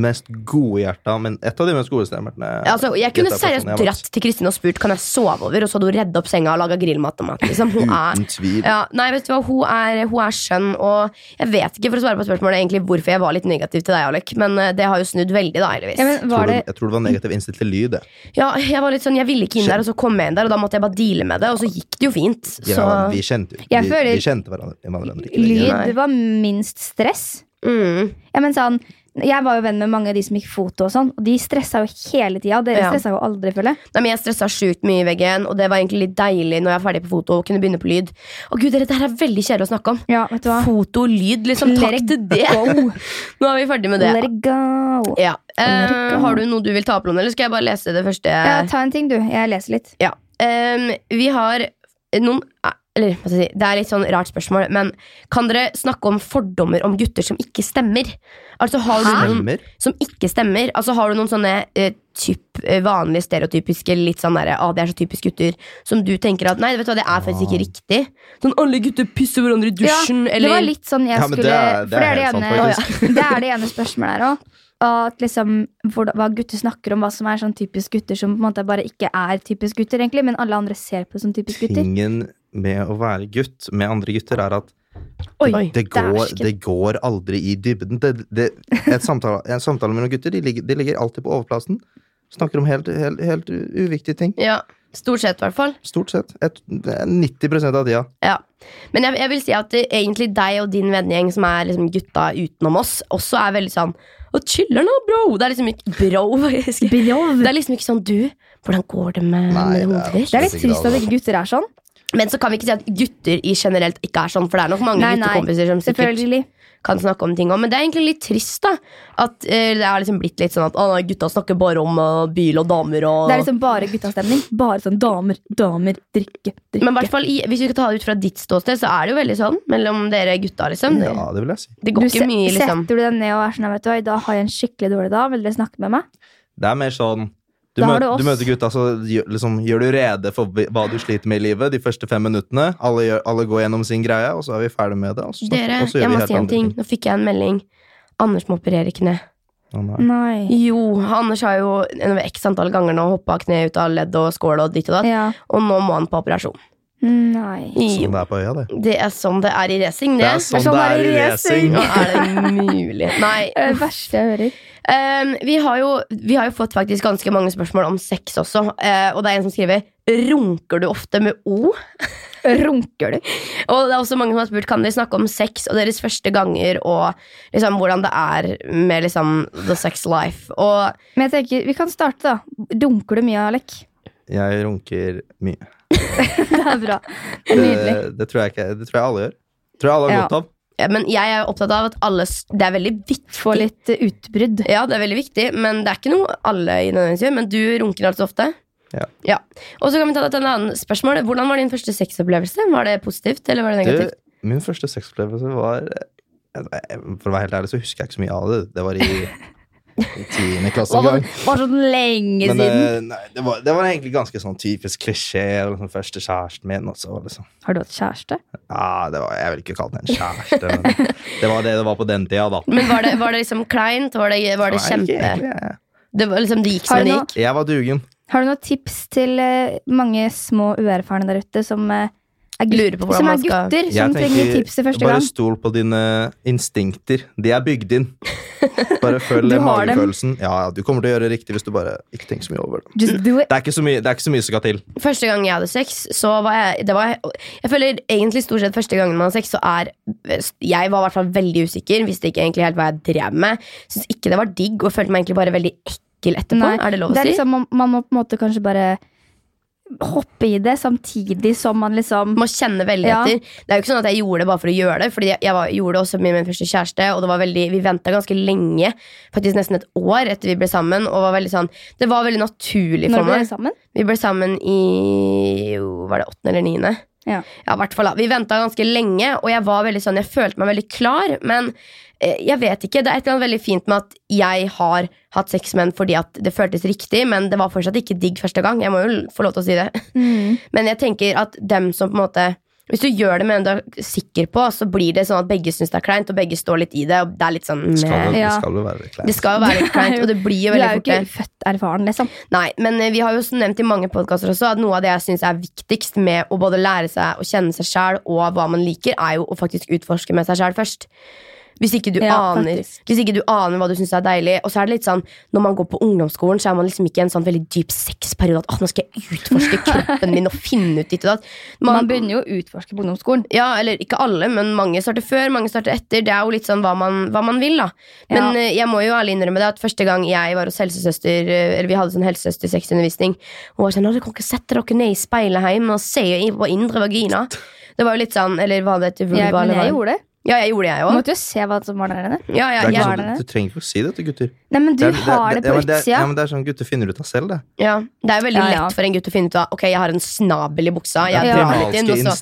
C: Mest gode hjerta, men et av de mest gode stemmertene.
A: Altså, jeg kunne seriøst dratt til Kristin og spurt Kan jeg sove over, og så hadde hun redda opp senga og laga grillmat og mat. Liksom. Hun er
C: Uten tvil.
A: Ja, nei, vet du hva, hun er, hun er skjønn, og jeg vet ikke for å svare på spørsmålet egentlig hvorfor jeg var litt negativ til deg, Alek, men eh, det har jo snudd veldig, da, heldigvis.
B: ja, men
C: Jeg tror
B: var det
C: det, jeg tror det var negativ innstilt til lyd. jeg.
A: Ja, jeg var litt sånn, jeg ville ikke inn der, og så kom jeg inn der, og da måtte jeg bare deale med det, og så gikk det jo fint. Så,
C: Ja, vi, kjente, vi,
B: Jeg
C: vi
B: føler-
C: kjente hverandre. hverandre ikke lenger.
A: Nei.
B: Lyd var minst stress.
A: mm,
B: Ja, men sånn jeg var jo venn med mange av de som gikk foto, og sånn Og de stressa jo hele tida. og Dere
A: Ja.
B: stressa jo aldri, føler jeg.
A: nei, men jeg stresset sjukt mye i veggen, og det var egentlig litt deilig når jeg var ferdig på foto, og kunne begynne på lyd. Å gud, dere, det her er veldig kjedelig å snakke om.
B: Ja, vet du hva?
A: Foto, lyd, liksom,
B: Let
A: takk
B: it
A: til det. Nå er vi ferdig med det.
B: Let it go.
A: Ja. Eh,
B: Let it go.
A: har du noe du vil ta opp, Lone, eller skal jeg bare lese det første?
B: Ja, ta en ting, du. Jeg leser litt.
A: Ja. ehm, vi har noen eh, eller, hva skal jeg si, Det er litt sånn rart spørsmål, men kan dere snakke om fordommer om gutter som ikke stemmer? Altså har du noen
C: Stemmer.
A: som ikke stemmer? Altså Har du noen sånne eh, typ, eh, vanlige stereotypiske litt sånn derre ah, 'det er så typisk gutter', som du tenker at 'nei, vet du hva, det er faktisk ikke riktig'? Sånn 'alle gutter pisser hverandre i dusjen',
B: ja,
A: eller
B: Det var litt sånn jeg
C: Ja, men det
B: skulle
C: er-
B: For det
C: det
B: er det
C: er helt
B: ene,
C: sant,
B: det, er det ene spørsmålet her òg. At liksom, hvor, hva gutter snakker om, hva som er sånn typisk gutter som på en måte bare ikke er typisk gutter, egentlig, men alle andre ser på det som typisk gutter.
C: Tingen med å være gutt med andre gutter er at
A: Oi,
C: det går,
B: dæsken.
C: det går aldri i dybden. Det, det, et samtale, en samtale mellom gutter de ligger, de ligger alltid på overplassen. Snakker om helt, helt, helt u- uviktige ting.
A: Ja, Stort sett, i hvert fall.
C: Stort sett. Et, 90 av tida.
A: Ja. Men jeg, jeg vil si at det, egentlig deg og din vennegjeng, som er liksom gutta utenom oss, også er veldig sånn Å, chiller'n da, bro! Det er liksom ikke bro, faktisk. Det er liksom ikke sånn du. Hvordan går det med,
C: Nei,
A: med
C: det er
A: hodet ditt?
B: Det er litt trist at ikke gutter er sånn.
A: Men så kan vi ikke si at gutter i generelt ikke er sånn, for det er nok mange
B: Nei, nei,
A: guttekompiser som sikkert
B: Selvfølgelig.
A: kan snakke om ting òg. Men det er egentlig litt trist, da. At eh, det er liksom blitt litt sånn at å, nei, gutta snakker bare om uh, bil og damer og
B: Det er liksom bare guttastemning. Bare sånn damer, damer, drikke, drikke.
A: Men i hvert fall, i- hvis vi skal ta det ut fra ditt ståsted, så er det jo veldig sånn mellom dere gutta, liksom. Det,
C: Ja, det vil jeg si.
A: det går
B: Du
A: ikke
B: se-
A: mye, liksom.
B: Setter du deg ned og er sånn vet du hva, i dag har jeg en skikkelig dårlig dag, vil dere snakke med meg?
C: Det er mer sånn du,
B: Da har
C: møter-
B: du oss.
C: du møter gutta, så gjør, liksom, gjør du rede for hva du sliter med i livet de første fem minuttene. Alle, gjør, alle går gjennom sin greie, og så er vi ferdig med det. Og så, snakker-
A: Dere,
C: og så gjør
A: jeg
C: vi
A: må
C: helt
A: si en
C: andre
A: ting. Nå fikk jeg en melding. Anders må operere kne.
C: Å, nei.
B: Nei.
A: Jo, Anders har jo en- x antall ganger nå hoppa kne ut av ledd og skål og ditt og datt,
B: Ja.
A: og nå må han på operasjon.
B: Nei.
C: Sånn
A: Jo,
C: det er på øya, det.
A: det er sånn det er i racing, det.
C: Det er sånn
B: sånn
C: det
B: det
C: er
B: er
C: i
B: i
C: racing.
A: Nå er det mulig. Nei.
B: Det er det verste jeg hører.
A: Um, vi, har jo, vi har jo fått faktisk ganske mange spørsmål om sex også. eh, og det er en som skriver 'Runker du ofte med O?'
B: Runker du?
A: Og det er også mange som har spurt Kan dere snakke om sex og deres første ganger og liksom, hvordan det er med liksom, the sex life. Og
B: Men jeg tenker, vi kan starte, da. Dunker du mye, Alek?
C: Jeg runker mye.
B: Det er bra.
C: Det,
B: Nydelig.
C: det, tror jeg ikke, det tror jeg alle gjør. Tror jeg alle har
B: Ja.
C: godt av.
A: Ja, Men jeg er jo opptatt av at alle s- Det er veldig viktig.
B: Få litt eh, utbrudd.
A: Ja, det er veldig viktig, men det er ikke noe alle i nødvendigvis gjør. Men du runker altså ofte.
C: Ja.
A: Og så kan vi ta et annet spørsmål. Hvordan var din første sexopplevelse? Var det positivt, eller var det
C: Du,
A: negativt?
C: min første sexopplevelse var eh, For å være helt ærlig så husker jeg ikke så mye av det. Det var i i tiende klasse. en
B: Var,
C: gang.
B: det- var sånn lenge
C: Men
B: siden.
C: eh, nei, det, var, det var egentlig ganske sånn typisk klisjé. og Liksom, første kjæresten min, og så liksom
B: Har du hatt kjæreste?
C: Ja, det var, Jeg vil ikke kalle det en kjæreste, men det var det det var på den tida, da.
A: Men var det, var det liksom kleint? Var det, var det
C: Nei, ikke
A: kjempe
C: egentlig, jeg-
A: Det var liksom, det gikk
B: Har
A: som
B: du
A: det
B: noe-
A: gikk.
C: Jeg var dugen.
B: Har du noen tips til eh, mange små uerfarne der ute som eh, er, gut-
A: Lurer på hvordan
B: som er
A: man skal-
B: gutter,
C: Jeg
B: som trenger
C: tenker,
B: tips til første
C: Bare
B: gang?
C: stol på dine instinkter. De er bygd inn. Bare følg
B: Du har dem.
C: magefølelsen. Ja, ja, Du kommer til å gjøre det riktig hvis du bare ikke tenker så mye over det.
B: Just do it.
C: Det er ikke så mye, det er ikke så mye som skal til.
A: Første gang jeg hadde sex, så var jeg det var, Jeg føler egentlig stort sett første gangen man har sex, så er Jeg var i hvert fall veldig usikker, visste ikke egentlig helt hva jeg drev med. Syns ikke det var digg, og følte meg egentlig bare veldig ekkel etterpå.
B: Nei,
A: er det lov å
B: er
A: si?
B: liksom, man, man må på en måte kanskje bare hoppe i det, samtidig som man liksom
A: må kjenne veldig
B: Ja.
A: etter. Det er jo ikke sånn at jeg gjorde det bare for å gjøre det, Fordi jeg, jeg var, gjorde det også med min første kjæreste, og det var veldig, vi venta ganske lenge, faktisk nesten et år etter vi ble sammen, og var veldig sånn Det var veldig naturlig
B: Når
A: for
B: ble dere
A: meg.
B: sammen?
A: Vi ble sammen i jo, Var det åttende eller niende?
B: Ja.
A: Ja, i hvert fall. da. Vi venta ganske lenge, og jeg var veldig sånn, jeg følte meg veldig klar. Men eh, jeg vet ikke. Det er et eller annet veldig fint med at jeg har hatt sex med en fordi at det føltes riktig, men det var fortsatt ikke digg første gang. Jeg må jo få lov til å si det. Men jeg tenker at dem som på en måte Hvis du gjør det med en du er sikker på, så blir det sånn at begge syns det er kleint, og begge står litt i det. Og det er litt sånn
C: Skal
A: meh.
C: det,
B: Ja.
C: skal det være
A: Det
C: kleint.
A: skal jo være litt kleint, og det blir jo
B: Du er
A: veldig
B: jo
A: fort
B: ikke
A: det.
B: født erfaren, liksom.
A: Nei, men eh, vi har jo også nevnt i mange podkaster også at noe av det jeg syns er viktigst med å både lære seg å kjenne seg sjæl og hva man liker, er jo å faktisk utforske med seg sjæl først. Hvis ikke, du
B: Ja,
A: aner,
B: faktisk.
A: hvis ikke du aner hva du syns er deilig. Og så er det litt sånn, Når man går på ungdomsskolen, Så er man liksom ikke i en sånn veldig dyp sexperiode. At «Åh, nå skal jeg utforske kroppen min og finne ut ditt og datt.
B: Man,
A: Man-
B: begynner jo å utforske på ungdomsskolen.
A: ja, eller ikke alle, men mange starter før, mange starter etter. Det er jo litt sånn hva man, hva man vil, da. Men
B: Ja.
A: eh, jeg må jo ærlig innrømme det at første gang jeg var hos helsesøster, eh, eller vi hadde sånn helsesøstersexundervisning, hun var sånn 'Å, dere kan ikke sette dere ned i speilet hjemme og se i- på indre vagina'. Det var jo litt sånn, eller hva det heter, vulva,
B: Jeg, men
A: eller hva?
B: jeg gjorde det.
A: Ja, jeg gjorde det, jeg
B: Man
A: òg.
B: måtte jo se hva som var der inne.
A: Ja, ja,
C: Det er
A: jeg,
C: ikke
B: Var
C: sånn,
B: det?
C: du trenger ikke å si det til gutter.
B: Nei, men du
C: Det er-
B: har det
C: ja,
B: på
C: men det-
B: utsida.
C: Ja, men Det er sånn gutter finner ut av selv, det.
A: ja. det er jo veldig
B: Ja, ja.
A: lett for en gutt å finne ut av Ok, jeg har en snabel i buksa. Jeg
B: Ja.
A: drar litt inn,
C: Primalske
A: og så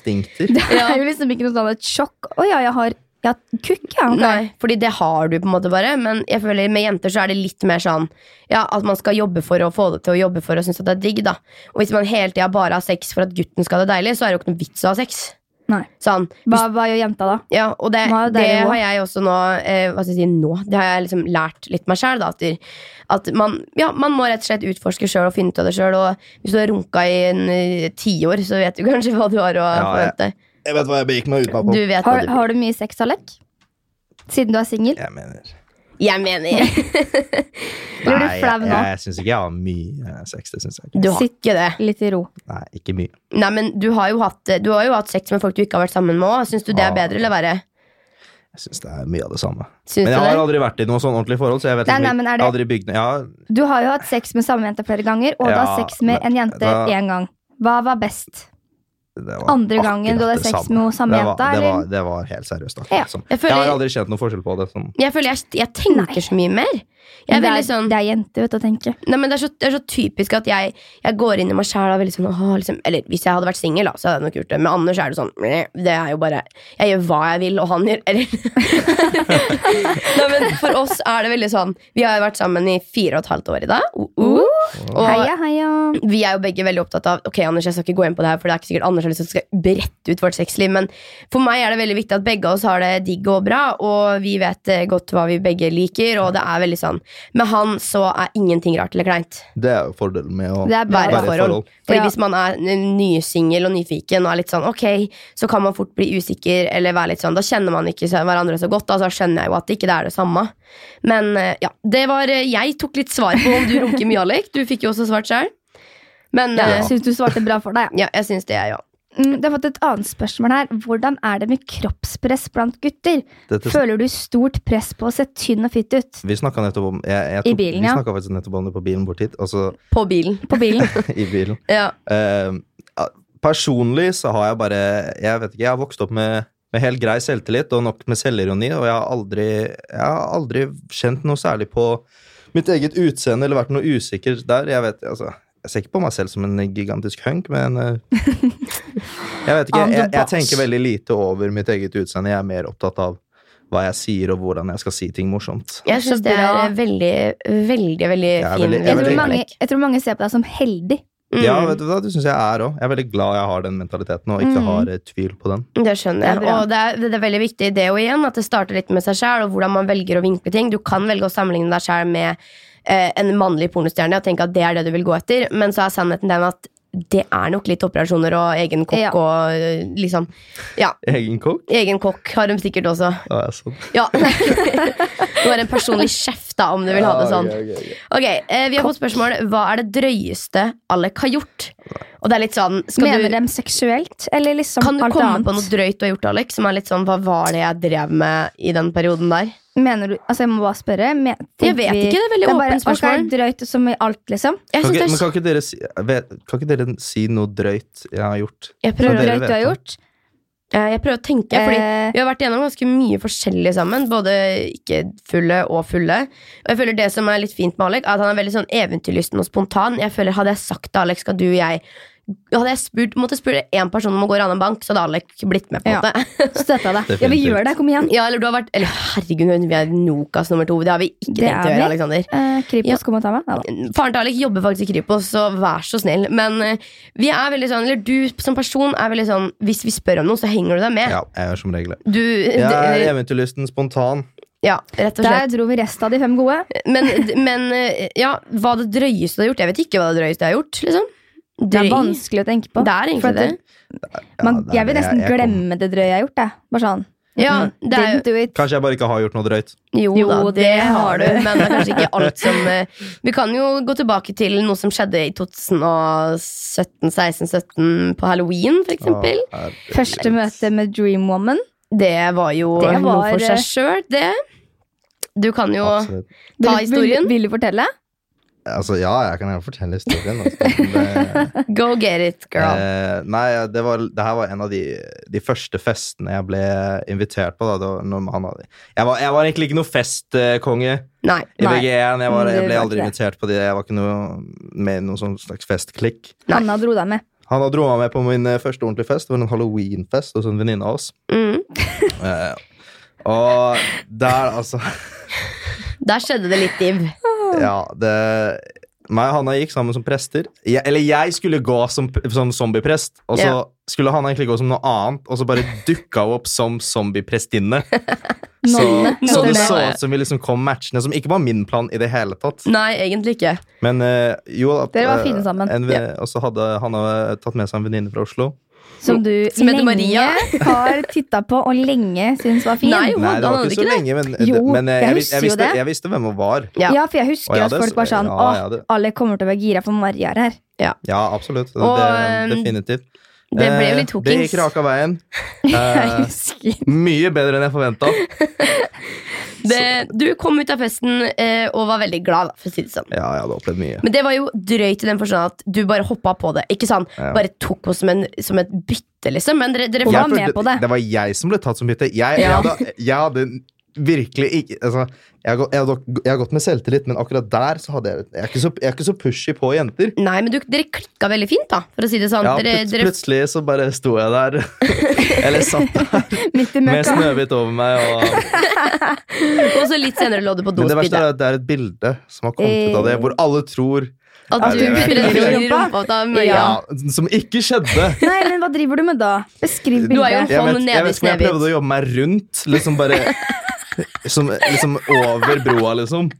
C: instinkter.
B: Det er jo liksom ikke noe sånn et sjokk. Å ja, jeg har, jeg har kukk, ja. ok.
A: Nei, fordi det har du på en måte bare Men jeg føler med jenter så er det litt mer sånn Ja, at man skal jobbe for å få det til å jobbe for Og synes at det er digg da Og hvis man hele tiden bare har sex for at gutten skal ha det deilig Så er det jo ikke noe vits å ha sex
B: Nei.
A: Sånn,
B: Hva, hva gjør jenta da?
A: ja, og det,
B: Hva er
A: det
B: deilig nå?
A: har jeg også nå eh, Hva skal jeg si, nå Det har jeg liksom lært litt meg selv da At, at man, ja, man må rett og slett utforske selv Og finne ut av det selv Og hvis du har runka i en eh, ti år Så vet du kanskje hva du har å
C: Ja, jeg-
A: forvente
C: Jeg vet hva jeg begikk meg ut av
A: Du vet hva
B: Har,
A: du
B: har du mye sex, Alek? Siden du er singel?
C: Jeg mener
A: Jeg mener,
B: Blir du
C: Nei,
B: flau
C: jeg,
B: nå?
C: jeg syns ikke jeg har mye sex. Det synes jeg ikke.
A: du har
B: Sitt-
A: ikke det
B: Litt i ro.
C: Nei, ikke mye.
A: Nei, men du har jo hatt, eh, du har jo hatt sex med folk du ikke har vært sammen med òg. Syns du det er
C: Ah.
A: bedre eller verre?
C: Jeg syns det er mye av det samme.
A: Syns
C: Men
A: du
C: jeg har
A: det?
C: aldri vært i noe sånn ordentlig forhold, så jeg vet
B: Nei,
C: liksom
B: nei, men er
C: ikke. Jeg har aldri bygd ja,
B: Du har jo hatt sex med samme jente flere ganger, og du har
C: Ja,
B: sex med en jente
C: da-
B: én gang. Hva var best?
C: det var
B: Andre gangen du
C: akkurat
B: hadde
C: det
B: sex
C: samme.
B: med samme
C: det var,
B: jente?
C: det, var,
B: Eller?
C: det var helt seriøst. akkurat
B: Ja.
C: sånn.
A: Jeg
C: Jeg har
A: føler,
C: aldri kjent noen forskjell på det. Sånn.
A: jeg, føler jeg, jeg tenker
B: Nei.
A: så mye mer. Jeg er
B: det,
A: veldig
B: er,
A: sånn
B: det er jenter, vet du, å tenke.
A: Nei, men det er, så, det er så typisk at jeg, jeg går inn i meg sjæl og veldig sånn åh, liksom, Eller hvis jeg hadde vært singel, da, så hadde jeg nok gjort det. Men Anders er det sånn meh, Det er jo bare Jeg gjør hva jeg vil, og han gjør eller Nei, men for oss er det veldig sånn Vi har jo vært sammen i fire og et halvt år i dag. Uh, uh. Og-
B: Heia, heia.
A: vi er jo begge veldig opptatt av Ok, Anders, jeg skal ikke gå inn på det her, for det er ikke sikkert Anders har lyst til at jeg skal berette ut vårt sexliv, men for meg er det veldig viktig at begge av oss har det digg og bra, og vi vet eh, godt hva vi begge liker, og det er veldig sånn sånn. Med han så er ingenting rart eller kleint.
C: Det er jo fordelen med å
A: Det er bare
C: være i et
A: forhold.
C: forhold.
A: Fordi
B: Ja.
A: Hvis man er n- nysingel og nyfiken, og er litt sånn, ok, så kan man fort bli usikker. eller være litt sånn, Da kjenner man ikke så- hverandre så godt. Da så skjønner jeg jo at det ikke er det samme. Men eh, ja, det var, eh, Jeg tok litt svar på om du runker mye, Alek. Du fikk jo også svart sjøl. Men
B: Ja,
A: eh,
B: jeg syns du svarte bra for deg. ja.
A: ja, jeg syns det, jeg ja.
B: Mm, Det har fått et annet spørsmål her. Hvordan er det med kroppspress blant gutter?
C: Dette
B: Føler du stort press på å se tynn og fitt ut
C: Vi snakka nettopp om jeg, jeg
B: I
C: tok,
B: bilen,
C: Vi
B: ja.
C: snakket faktisk nettopp om det på bilen bort hit. Altså
A: På bilen.
B: på bilen?
C: i bilen.
A: Ja.
C: Eh, ja, personlig så har jeg bare Jeg vet ikke, jeg har vokst opp med, med helt grei selvtillit og nok med selvironi, og jeg har aldri, jeg har aldri kjent noe særlig på mitt eget utseende eller vært noe usikker der. Jeg vet, altså jeg ser ikke på meg selv som en gigantisk hunk, men eh, Jeg vet ikke,
B: I'm the
C: jeg, jeg
B: boss.
C: tenker veldig lite over mitt eget utseende. Jeg er mer opptatt av hva jeg sier, og hvordan jeg skal si ting morsomt.
A: Jeg syns det er
B: bra.
A: eh, veldig, veldig veldig
C: er
A: fin.
B: Jeg
C: veldig- jeg er
B: tror,
C: veldig-
B: mange, jeg tror mange ser på deg som heldig.
A: Mm,
C: Ja, vet du hva, det syns jeg er òg. Jeg er veldig glad jeg har den mentaliteten, og ikke
B: Mm.
C: har eh, tvil på den.
A: Det skjønner jeg.
B: Det er bra.
A: og det er, det er veldig viktig det og igjen, at det starter litt med seg sjæl og hvordan man velger å vinkle ting. Du kan velge å sammenligne deg sjæl med eh, en mannlig pornostjerne og tenke at det er det du vil gå etter, men så er sannheten den at det er nok litt operasjoner og egen kokk
B: Ja.
A: og eh, liksom
C: Egen kokk?
A: Egen kokk har de sikkert også.
C: Ja, jeg er sånn.
A: Ja. Du har en personlig sjef, da, om du vil ha det sånn. Ok, eh, Vi har fått spørsmål Hva er det drøyeste Alek har gjort. Og det er litt sånn skal du-
B: Mener dem seksuelt, eller liksom
A: Kan du
B: alt
A: komme
B: annet?
A: på noe drøyt du har gjort, Alex? Som er litt sånn, Hva var det jeg drev med i den perioden der?
B: Mener du, altså jeg må bare spørre. men-
A: Jeg vet
B: tenker
A: ikke,
B: vi-
A: det er veldig
B: det er bare
A: åpent spørsmål.
B: alt er drøyt som i alt,
A: Jeg,
B: liksom.
C: Kan
A: synes
C: ikke,
A: det
C: men
A: er,
C: kan ikke, dere si, vet, kan ikke dere si noe drøyt jeg har gjort?
A: jeg,
C: Så
A: prøver,
C: dere
B: drøyt
C: vet
B: du har
C: det.
B: gjort.
A: eh, jeg prøver å tenke, fordi
B: Eh,
A: vi har vært gjennom ganske mye forskjellig sammen. Både ikke fulle og fulle. Og jeg føler det som er litt fint med Alek, er at han er veldig sånn eventyrlysten og spontan. Jeg føler Hadde jeg sagt til Alek skal du og jeg Hadde jeg spurt, måtte spørre én person om å gå og rane en bank, så hadde Alek blitt med. på en
B: Ja.
A: måte
B: Støtta deg. Ja, vi
C: Definitivt.
B: gjør det. Kom igjen.
A: Ja, eller du har vært Eller herregud, vi er Nokas nummer to. Det har vi ikke
B: Det
A: tenkt å
B: er
A: gjøre,
B: vi.
A: Aleksander.
B: Eh, Kripos,
A: Ja.
B: kom og ta meg. Ja, da.
A: Faren til Alek jobber faktisk i Kripos, så vær så snill. Men eh, vi er veldig sånn, eller du som person er veldig sånn Hvis vi spør om noe, så henger du deg med.
C: Ja, jeg gjør som regel det.
A: Du,
C: Jeg er
A: det-
C: eventyrlysten spontan.
A: ja, rett og
B: Der
A: slett.
B: dro vi resten av de fem gode.
A: Men, men eh, ja, hva det drøyeste du har gjort? Jeg vet ikke hva det drøyeste jeg har gjort. Liksom.
B: Det er
A: Drøy.
B: vanskelig å tenke på.
A: Det er
B: For
A: egentlig
B: at
A: det.
C: Ja,
B: Man,
C: det er
B: jeg vil
C: det.
B: nesten
C: jeg kom-
B: glemme det drøye jeg har gjort. Jeg. Bare sånn.
A: Ja,
B: mm,
A: det er jo
B: Didn't do it.
C: Kanskje jeg bare ikke har gjort noe drøyt.
A: Jo,
B: Jo,
A: da, det
B: det
A: har
B: har
A: du, men det er kanskje ikke alt som eh, Vi kan jo gå tilbake til noe som skjedde i 2017-16-17 på halloween, for eksempel.
C: Å, herregud.
B: Første møte med Dream Woman.
A: Det var jo
B: Det var,
A: noe for
B: eh,
A: seg sjøl, det. Du kan jo
C: Absolutt.
A: Ta
B: Vil- vil-
A: historien.
B: Vil du fortelle?
C: Altså, ja, jeg kan gjerne fortelle historien. Altså. Det,
A: Go get it, girl.
C: Eh, nei, det, var, det her var en av de, de første festene jeg ble invitert på. Da, det var, når han hadde, jeg, var, jeg var egentlig ikke noe festkonge.
A: Nei.
B: Nei,
C: I
B: Mm,
C: VG1, jeg, var,
B: det
C: jeg ble
B: var
C: aldri
B: ikke
C: invitert på det. Jeg var ikke noe med i noen sånn slags festklikk.
A: Nei.
B: Anna dro deg med.
C: Han dro meg med på min eh, første ordentlige fest. Det var en halloweenfest hos en venninne av oss.
A: Mm.
C: Eh, og der, altså
A: Der skjedde det litt div.
C: Ja, det meg og Hanna gikk sammen som prester. Jeg, eller jeg skulle gå som, som zombieprest, og så
A: Ja.
C: skulle Hanna egentlig gå som noe annet, og så bare dukka hun opp som zombieprestinne. Så,
B: Nonne.
C: så det
A: Nonne.
C: så ut som vi liksom kom matchende, som ikke var min plan i det hele tatt.
A: Nei, egentlig ikke.
C: Men eh, jo da,
B: Dere var
C: eh,
B: fine sammen.
C: En, Og så hadde Hanna eh, tatt med seg en venninne fra Oslo.
B: Som du
A: Som heter
B: lenge
A: Maria.
B: har titta på og lenge syns var fin.
A: Nei, Jo,
C: Nei, det
A: Hanna
C: var
A: hadde
C: ikke så
A: ikke
C: lenge, men,
B: Jo,
C: men eh,
B: jeg
C: jeg,
B: husker
C: jeg,
B: jo
C: visste,
B: det.
C: jeg visste hvem hun var.
A: Ja.
B: Ja. for jeg husker
C: Å, ja,
B: at
C: det-
B: folk var sånn
C: ja,
B: Å,
C: ja, det-
B: alle kommer til å være gira for Maria er her.
C: Ja, absolutt. Det,
A: Og,
C: det,
A: eh,
C: definitivt.
A: Det ble
C: Eh,
A: jo litt
C: Det
A: hookings.
C: gikk raka veien.
B: Jeg
C: Eh,
B: husker.
C: mye bedre enn jeg forventa.
A: Det- Du kom ut av festen eh, og var veldig glad, da, for å si det sånn.
C: Ja, jeg hadde opplevd mye.
A: Men det var jo drøyt i den forstand at du bare hoppa på det. Ikke sant?
C: Ja.
A: Bare tok oss som, en, som et bytte, liksom. Men dere, dere
B: Og
A: ja.
B: var med på det.
C: det var jeg som ble tatt som bytte. Jeg, jeg,
A: Ja.
C: hadde, jeg hadde virkelig ikke altså, jeg, har gått- jeg, har gått- jeg har gått med selvtillit, men akkurat der så hadde jeg Jeg er ikke så, jeg er ikke så pushy på jenter.
A: Nei, men du, dere klikka veldig fint, da, for å si det sånn.
C: Ja,
A: dere,
C: plut,
A: dere,
C: plutselig så bare sto jeg der, eller satt der,
B: Midt i
C: med
B: møkka.
C: Snøhvit over meg. Og,
A: og så litt senere lå du på
C: men det verste
A: dospydet.
C: er at det er et bilde som har kommet ut av
B: Eh.
C: det, hvor alle tror
A: At
C: Ja,
A: du
C: det er-
A: fyrer
B: Fyrer
A: i
B: rumpa.
A: rumpa av Maria.
B: Ja.
C: ja, Som ikke skjedde.
B: Nei, men hva driver du med da? Beskriv
A: Du er jo-
B: bildet.
C: Jeg
A: Hånden
C: vet,
A: ned i
C: jeg vet ikke om jeg
A: Snøhvit.
C: prøvde å jobbe meg rundt. Liksom bare som, liksom over broa, liksom.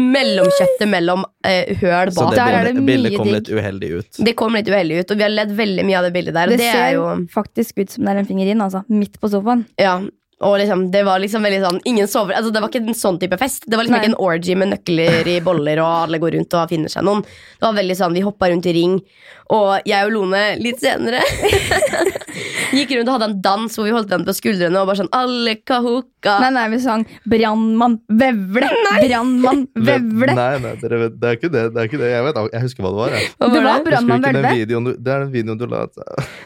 A: mellomkjøttet mellom eh, høl
C: Så
A: bak.
C: det
B: Der er
C: bildet,
B: det
C: bildet
B: mye
C: kom
B: digg.
C: litt uheldig ut.
A: Det kom litt uheldig ut, og vi har ledd veldig mye av det bildet der.
B: Det,
A: Og det,
B: ser
A: er jo
B: faktisk ut som det er en finger inn, altså. Midt på sofaen.
A: Ja, og liksom, det var liksom veldig sånn Ingen sover, altså det var ikke en sånn type fest Det var liksom
B: Nei.
A: ikke en orgy med nøkler i boller Og alle går rundt og finner seg noen Det var veldig sånn, vi hoppet rundt i ring Og jeg og Lone litt senere Gikk rundt og hadde en dans Hvor vi holdt den på skuldrene Og bare sånn, alle kahoka
B: Nei, nei, vi sang 'Brannmann, vevle', 'Brannmann, vevle'.
C: Nei, nei, dere vet, det er ikke det. det, er ikke det. Jeg, vet, ak- jeg husker hva det var. Jeg.
A: Hva
B: Det var
A: det?
C: Husker du
B: Brannmann
C: ikke den
B: Hvelve.
C: videoen du, det er den videoen du la ut.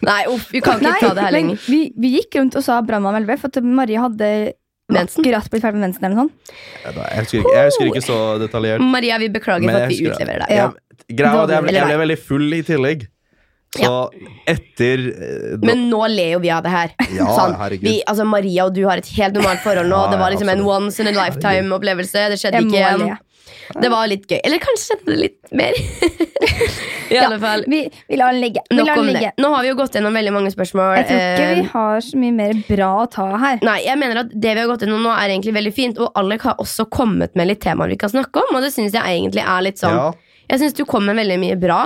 A: Nei, uff, vi kan ikke
B: Nei,
A: ta det her
B: men
A: lenger
B: vi, vi gikk rundt og sa 'Brannmann, hvelve', for at Marie hadde
A: Mensen?
B: akkurat blitt ferdig med mensen. eller noe sånt.
C: Ja, da, Jeg husker ikke, jeg husker ikke så detaljert.
A: Maria, vi beklager
C: Men
A: for at
C: jeg
A: vi
C: husker det.
A: utleverer deg
B: Ja.
C: Jeg, greia var at jeg, ble, jeg ble
A: Eller
C: veldig full i tillegg. Så etter eh, da-
A: Men nå ler jo vi av det her.
C: Ja,
A: Sånn,
C: herregud.
A: vi, altså, Maria og du har et helt normalt forhold nå.
C: Ja,
A: det var
C: ja,
A: liksom en
C: absolutt.
A: once in a lifetime-opplevelse. Det skjedde
B: Jeg må
A: ikke
B: le.
A: igjen. Det var litt gøy. Eller kanskje skjedde det litt mer. I alle fall.
B: Vi, vi lar den ligge. Vi
A: Nok
B: lar den
A: om
B: ligge.
A: det. Nå har vi jo gått gjennom veldig mange spørsmål.
B: Jeg tror ikke vi
A: Eh,
B: har så mye mer bra å ta her.
A: Nei, jeg mener at Det vi har gått gjennom nå, er egentlig veldig fint. Og Alek har også kommet med litt temaer vi kan snakke om. Og det synes jeg egentlig er litt sånn
C: ja,
A: Jeg syns du kom med veldig mye bra.